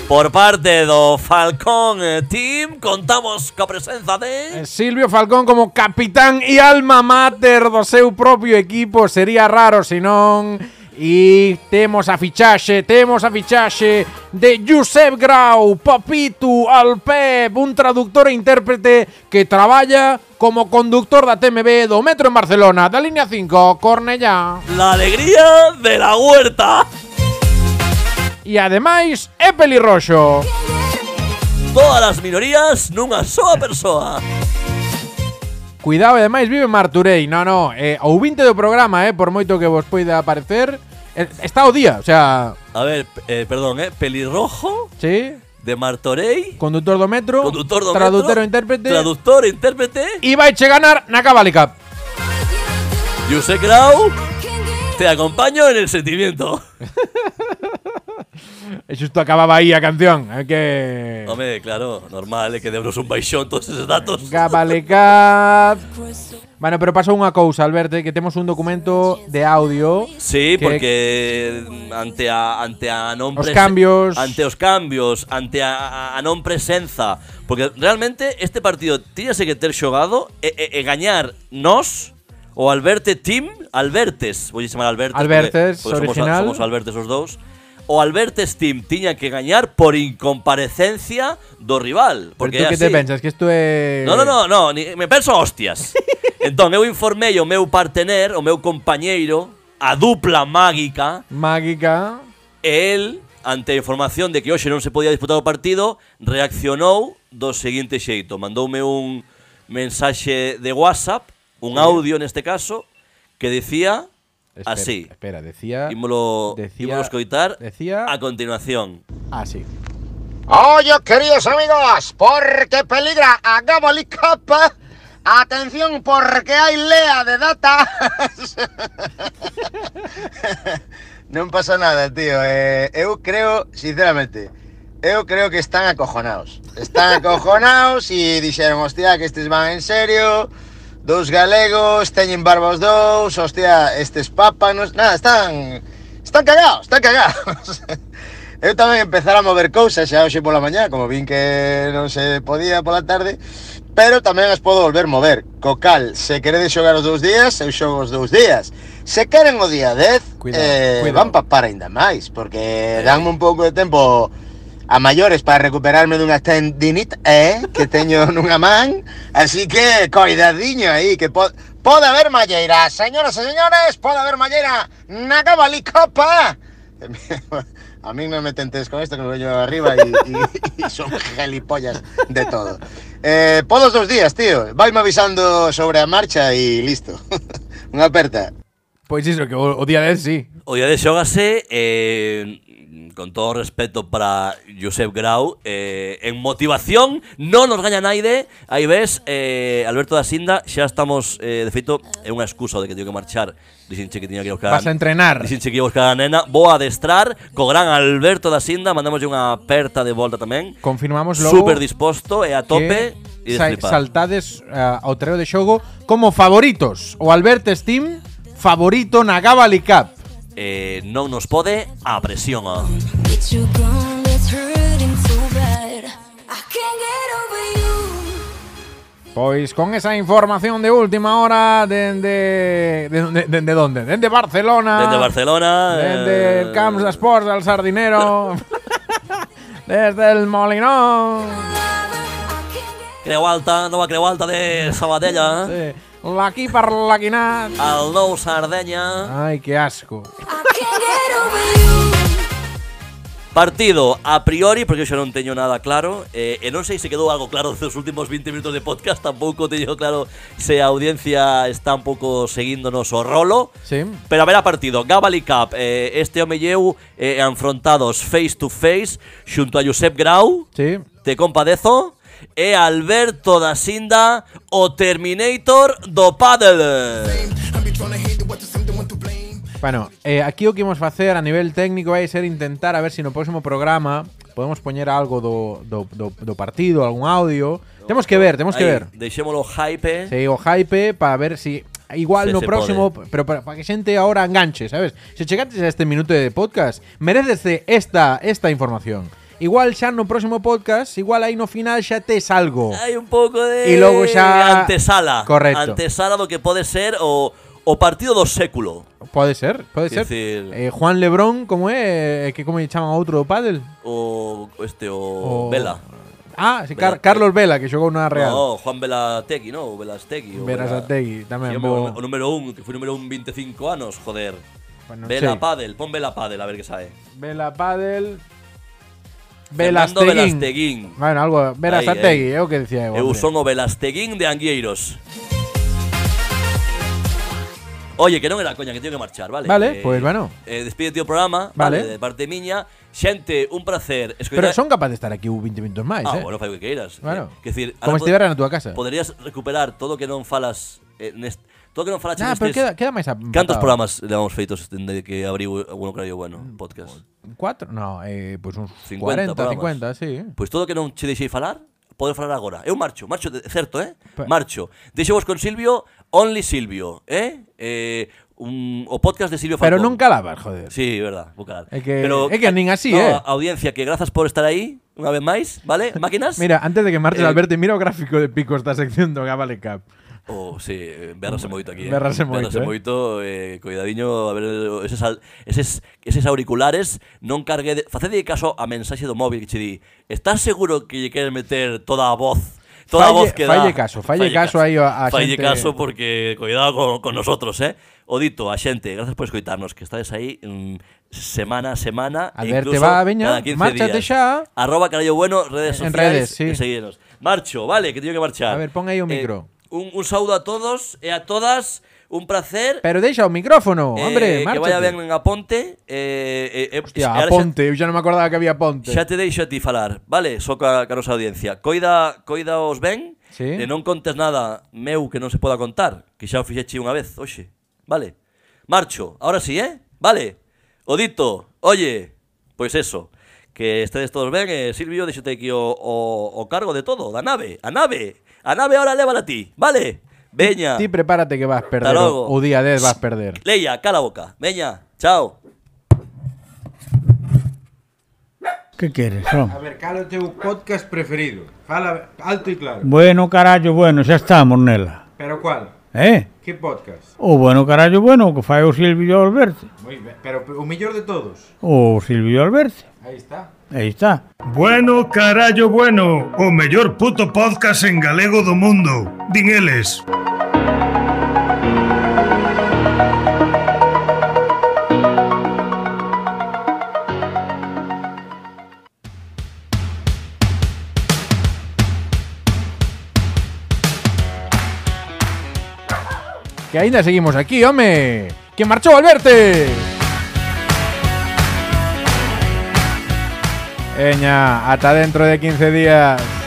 [SPEAKER 2] Por parte do Falcón eh, Team contamos coa presenza de
[SPEAKER 1] Silvio Falcón como capitán e alma mater do seu propio equipo sería raro se non e temos a fichaxe, temos a fichaxe de Josep Grau, Papitu, Alpep, un traductor e intérprete que traballa como conductor da TMB do metro en Barcelona, da línea 5, Cornellá.
[SPEAKER 2] La alegría de la huerta.
[SPEAKER 1] E ademais é pelirroxo.
[SPEAKER 2] Todas as minorías nunha soa persoa.
[SPEAKER 1] Cuidado, e ademais vive Marturei. No, no, eh, ouvinte do programa, eh, por moito que vos poida aparecer, eh, está o día, o sea,
[SPEAKER 2] A ver, p- eh, perdón, eh, pelirrojo
[SPEAKER 1] sí,
[SPEAKER 2] de Martorey,
[SPEAKER 1] conductor do metro,
[SPEAKER 2] conductor do
[SPEAKER 1] traductor
[SPEAKER 2] metro,
[SPEAKER 1] e intérprete,
[SPEAKER 2] Traductor e intérprete.
[SPEAKER 1] e vai che ganar na Cavali Cup.
[SPEAKER 2] Josep Grau, te acompaño en el sentimiento.
[SPEAKER 1] E xusto acababa aí a canción. É que...
[SPEAKER 2] Home, claro, normal, é que debros un baixón todos esos datos.
[SPEAKER 1] Gabalecaz. Bueno, pero pasou unha cousa, Alberto, que temos un documento de audio.
[SPEAKER 2] Sí,
[SPEAKER 1] que-
[SPEAKER 2] porque mm, ante a ante a non
[SPEAKER 1] Os
[SPEAKER 2] presen-
[SPEAKER 1] cambios.
[SPEAKER 2] ante os cambios, ante a, a- a non presenza, porque realmente este partido tíñase que ter xogado e, e, e gañar nós o Alberte Team, Albertes, vou chamar Albertes,
[SPEAKER 1] Albertes, original.
[SPEAKER 2] somos, somos Albertes os dous. O Albertes Team tiña que gañar por incomparecencia do rival, porque
[SPEAKER 1] pero tú
[SPEAKER 2] é
[SPEAKER 1] que te
[SPEAKER 2] así.
[SPEAKER 1] pensas? Que isto é...
[SPEAKER 2] No, no, no, no, ni- me penso a
[SPEAKER 1] *laughs*
[SPEAKER 2] hostias. entón, eu informei o meu partener, o meu compañeiro, a dupla mágica,
[SPEAKER 1] Mágica.
[SPEAKER 2] e el, ante a información de que hoxe non se podía disputar o partido, reaccionou do seguinte xeito. Mandoume un mensaxe de WhatsApp, un audio neste caso, que decía
[SPEAKER 1] Espera,
[SPEAKER 2] así.
[SPEAKER 1] Espera, decía...
[SPEAKER 2] Ímolo,
[SPEAKER 1] Ah. decía-
[SPEAKER 2] ímolo escoitar
[SPEAKER 1] decía-
[SPEAKER 2] a continuación.
[SPEAKER 1] Así.
[SPEAKER 5] Oye, queridos amigos, porque peligra a Gabalicap. Atención, porque hay lea de datas. *laughs* non pasa nada, tío. Eh, eu creo, sinceramente, eu creo que están acojonados. Están acojonados e dixeron, hostia, que estes van en serio. Dous galegos, teñen barba os dous, hostia, estes pápanos... Nada, están... Están cagados, están cagados. *laughs* Eu tamén empezara a mover cousas xa hoxe pola mañá, como vin que non se podía pola tarde, pero tamén as podo volver mover. Co cal, se queredes xogar os dous días, eu xogo os dous días. Se queren o día 10,
[SPEAKER 1] Cuidado,
[SPEAKER 5] eh,
[SPEAKER 1] cuidado.
[SPEAKER 5] van papar aínda máis, porque danme un pouco de tempo a maiores para recuperarme dunha tendinite eh, que teño *laughs* nunha man, así que coidadiño aí, que po pode haber malleira, señoras e señores, pode haber malleira na Cabalí Copa. *laughs* A mí no me tentes con esto, que me voy yo arriba y, y- y son gelipollas de todo. Eh, por los dos días, tío. Vais avisando sobre a marcha y listo. *laughs* Unha aperta.
[SPEAKER 1] Pois iso, Pues que o, o día 10 sí.
[SPEAKER 2] O día de xógase eh, con todo respeto para Josep Grau eh, en motivación non nos gaña naide aí ves eh, Alberto da Sinda xa estamos eh, de feito é unha excusa de que teño que marchar dixenche que tiña que ir buscar
[SPEAKER 1] Vas a entrenar.
[SPEAKER 2] dixenche que ia buscar a nena vou a adestrar co gran Alberto da Sinda mandamoslle unha aperta de volta tamén
[SPEAKER 1] Confirmamos logo
[SPEAKER 2] super disposto e a tope
[SPEAKER 1] que
[SPEAKER 2] e de
[SPEAKER 1] sa-
[SPEAKER 2] flipar.
[SPEAKER 1] saltades ah, ao treo de xogo como favoritos. O Alberto Steam favorito na Gabali Cup.
[SPEAKER 2] eh, non nos pode a presión
[SPEAKER 1] Ah.
[SPEAKER 2] ó.
[SPEAKER 4] Get you gone, that's hurting so bad. I can't get over you.
[SPEAKER 1] Pois Pues con esa información de última hora dende dende dende onde? Dende Barcelona.
[SPEAKER 2] Dende Barcelona
[SPEAKER 1] Dende el
[SPEAKER 2] eh,
[SPEAKER 1] Camps de Sports del
[SPEAKER 2] *laughs*
[SPEAKER 1] Sardinero. Desde el Molinón.
[SPEAKER 2] Creu Alta, nova Creu Alta de Sabadella,
[SPEAKER 1] Sí. L'aquí per l'aquinat.
[SPEAKER 2] el nou Sardenya.
[SPEAKER 1] Ai, que asco.
[SPEAKER 4] I can't get over you.
[SPEAKER 2] Partido a priori, porque eu xa non teño nada claro, eh, e non sei se quedou algo claro dos últimos 20 minutos de podcast, tampouco teño claro se a audiencia está un pouco seguíndonos o rolo.
[SPEAKER 1] Sí.
[SPEAKER 2] Pero a ver a partido, Gabali Cup, eh, este home e eu eh, enfrontados face to face xunto a Josep Grau,
[SPEAKER 1] Sí.
[SPEAKER 2] te compadezo, e Alberto da Sinda, o Terminator do Paddle.
[SPEAKER 1] Bueno, eh, aquí o que imos facer a nivel técnico vai ser intentar a ver se no próximo programa podemos poñer algo do, do, do, do partido, algún audio. Temos que ver, temos que
[SPEAKER 2] Aí,
[SPEAKER 1] ver.
[SPEAKER 2] Deixémoslo hype.
[SPEAKER 1] Se o hype para ver si igual
[SPEAKER 2] Se-
[SPEAKER 1] no
[SPEAKER 2] se
[SPEAKER 1] próximo, pero para, para que xente ahora enganche, sabes? Se chegates a este minuto de podcast, mereces esta esta información. Igual xa no próximo podcast, igual aí no final xa tes algo.
[SPEAKER 2] Hai un pouco de
[SPEAKER 1] E logo xa-
[SPEAKER 2] antesala,
[SPEAKER 1] Correcto.
[SPEAKER 2] antesala do que pode ser o o partido do século,
[SPEAKER 1] Pode ser, pode ser.
[SPEAKER 2] Quer dicir-
[SPEAKER 1] Eh, Juan Lebrón, como é, Eh, que como lle chaman a outro do pádel?
[SPEAKER 2] o este o,
[SPEAKER 1] O-
[SPEAKER 2] Vela.
[SPEAKER 1] Ah, sí, Car-
[SPEAKER 2] Vela-
[SPEAKER 1] Carlos Vela, que xogou na Real.
[SPEAKER 2] No, Juan Velategui, no, o Velastegui. o
[SPEAKER 1] Verasategui, tamén,
[SPEAKER 2] Sí,
[SPEAKER 1] bo.
[SPEAKER 2] o, o número un, que foi número un 25 anos, joder.
[SPEAKER 1] Bueno,
[SPEAKER 2] Vela
[SPEAKER 1] sí.
[SPEAKER 2] Padel, pon Vela Padel, a ver que sabe.
[SPEAKER 1] Vela Padel.
[SPEAKER 2] Fernando
[SPEAKER 1] Velasteguín.
[SPEAKER 2] Velasteguín.
[SPEAKER 1] Bueno, algo. Verasategui, é o que decía eu.
[SPEAKER 2] Eu
[SPEAKER 1] hombre.
[SPEAKER 2] son o Velasteguín de Angueiros. Oye, que non era coña, que teño que marchar, vale?
[SPEAKER 1] Vale, pois, bueno.
[SPEAKER 2] Eh, despídete o programa,
[SPEAKER 1] Vale.
[SPEAKER 2] vale, de parte miña. Xente, un placer.
[SPEAKER 1] Pero
[SPEAKER 2] escoitar-
[SPEAKER 1] son capaz de estar aquí un 20 minutos máis,
[SPEAKER 2] Ah,
[SPEAKER 1] eh?
[SPEAKER 2] bueno, fai o que queiras.
[SPEAKER 1] Claro.
[SPEAKER 2] Eh, quer dicir,
[SPEAKER 1] Como
[SPEAKER 2] ahora
[SPEAKER 1] estivera na túa casa.
[SPEAKER 2] Poderías recuperar todo o que non falas eh, nest- Todo que non falaches
[SPEAKER 1] Nah, pero
[SPEAKER 2] destes-
[SPEAKER 1] queda, queda máis a
[SPEAKER 2] Cantos programas levamos feitos dende que abriu un horario bueno
[SPEAKER 1] Mm, pues,
[SPEAKER 2] podcast?
[SPEAKER 1] Cuatro? No, eh, pois uns 40,
[SPEAKER 2] 50 programas.
[SPEAKER 1] 50, sí.
[SPEAKER 2] Pois todo que non che deixei falar, podo falar agora. Eu marcho, marcho, de- certo, eh?
[SPEAKER 1] Pe-
[SPEAKER 2] Marcho. Deixo vos con Silvio, Only Silvio, eh? eh un, o podcast de Silvio
[SPEAKER 1] Pero
[SPEAKER 2] Falcón.
[SPEAKER 1] non calabas, joder.
[SPEAKER 2] Sí, verdad, vou calar.
[SPEAKER 1] É que- é que nin así,
[SPEAKER 2] no,
[SPEAKER 1] eh.
[SPEAKER 2] a- Audiencia, que grazas por estar aí, unha vez máis, vale?
[SPEAKER 1] *laughs*
[SPEAKER 2] Máquinas?
[SPEAKER 1] Mira, antes de que marches,
[SPEAKER 2] Eh,
[SPEAKER 1] Alberto, mira o gráfico de picos da sección do Gabale Cup.
[SPEAKER 2] Oh, sí, eh, berrase moito aquí. eh.
[SPEAKER 1] Berrase moito,
[SPEAKER 2] Berrase
[SPEAKER 1] eh.
[SPEAKER 2] moito, eh, cuidadiño, a ver, eses, al- eses, eses auriculares non cargue... De, facede caso a mensaxe do móvil que che di Estás seguro que lle queres meter toda a voz? Toda a
[SPEAKER 1] Falle-
[SPEAKER 2] voz que dá.
[SPEAKER 1] falle caso, falle caso aí a- a
[SPEAKER 2] Falle
[SPEAKER 1] xente-
[SPEAKER 2] caso porque cuidado con, con nosotros, eh. Odito, a xente, grazas por escoitarnos, que estades aí mm, semana a semana. e
[SPEAKER 1] Alberte,
[SPEAKER 2] incluso
[SPEAKER 1] va, veña,
[SPEAKER 2] cada 15
[SPEAKER 1] márchate
[SPEAKER 2] días.
[SPEAKER 1] xa.
[SPEAKER 2] Arroba Carallo Bueno, redes
[SPEAKER 1] En
[SPEAKER 2] sociales.
[SPEAKER 1] redes, sí.
[SPEAKER 2] e seguidenos. Marcho, vale, que teño que marchar. Eh,
[SPEAKER 1] A ver, pon aí o micro.
[SPEAKER 2] Un, un saúdo a todos e a todas. Un placer.
[SPEAKER 1] Pero deixa o micrófono,
[SPEAKER 2] Eh,
[SPEAKER 1] hombre,
[SPEAKER 2] que
[SPEAKER 1] márchate.
[SPEAKER 2] vaya ben en Aponte. Eh, eh, eh,
[SPEAKER 1] Hostia,
[SPEAKER 2] ahora
[SPEAKER 1] a Ponte, eu xa non me acordaba que había Ponte.
[SPEAKER 2] Xa, xa te deixo a ti falar. Vale, só ca, ca nosa audiencia. Coida, coida os ben
[SPEAKER 1] Sí.
[SPEAKER 2] e non contes nada meu que non se poda contar, que xa o fixeche unha vez, oxe. Vale. Marcho, ahora sí, eh? Vale. Odito, oye, pois eso. Que estedes todos ben, eh, Silvio, deixote aquí o, o, o cargo de todo, da nave, a nave. A nave ahora lévala ti, vale? Veña.
[SPEAKER 1] Ti prepárate que vas a perder.
[SPEAKER 2] logo.
[SPEAKER 1] O, o día 10 vas a perder.
[SPEAKER 2] Leia, cala a boca. Veña, chao.
[SPEAKER 6] ¿Qué quieres, hombre?
[SPEAKER 1] ver, cal o teu podcast preferido? Fala alto e claro.
[SPEAKER 6] Bueno, carallo, bueno, xa estamos nela.
[SPEAKER 1] Pero cual?
[SPEAKER 6] Eh?
[SPEAKER 1] Que podcast?
[SPEAKER 6] O bueno, carallo, bueno, o que fai o Silvio Alberti.
[SPEAKER 1] Moi ben, pero o mellor de todos.
[SPEAKER 6] O Silvio Alberti.
[SPEAKER 1] Aí está.
[SPEAKER 6] Aí está.
[SPEAKER 3] Bueno, carallo, bueno, o mellor puto podcast en galego do mundo. Din eles.
[SPEAKER 1] Que aínda seguimos aquí, home. Que marchou Alberte. Eña, ata dentro de 15 días.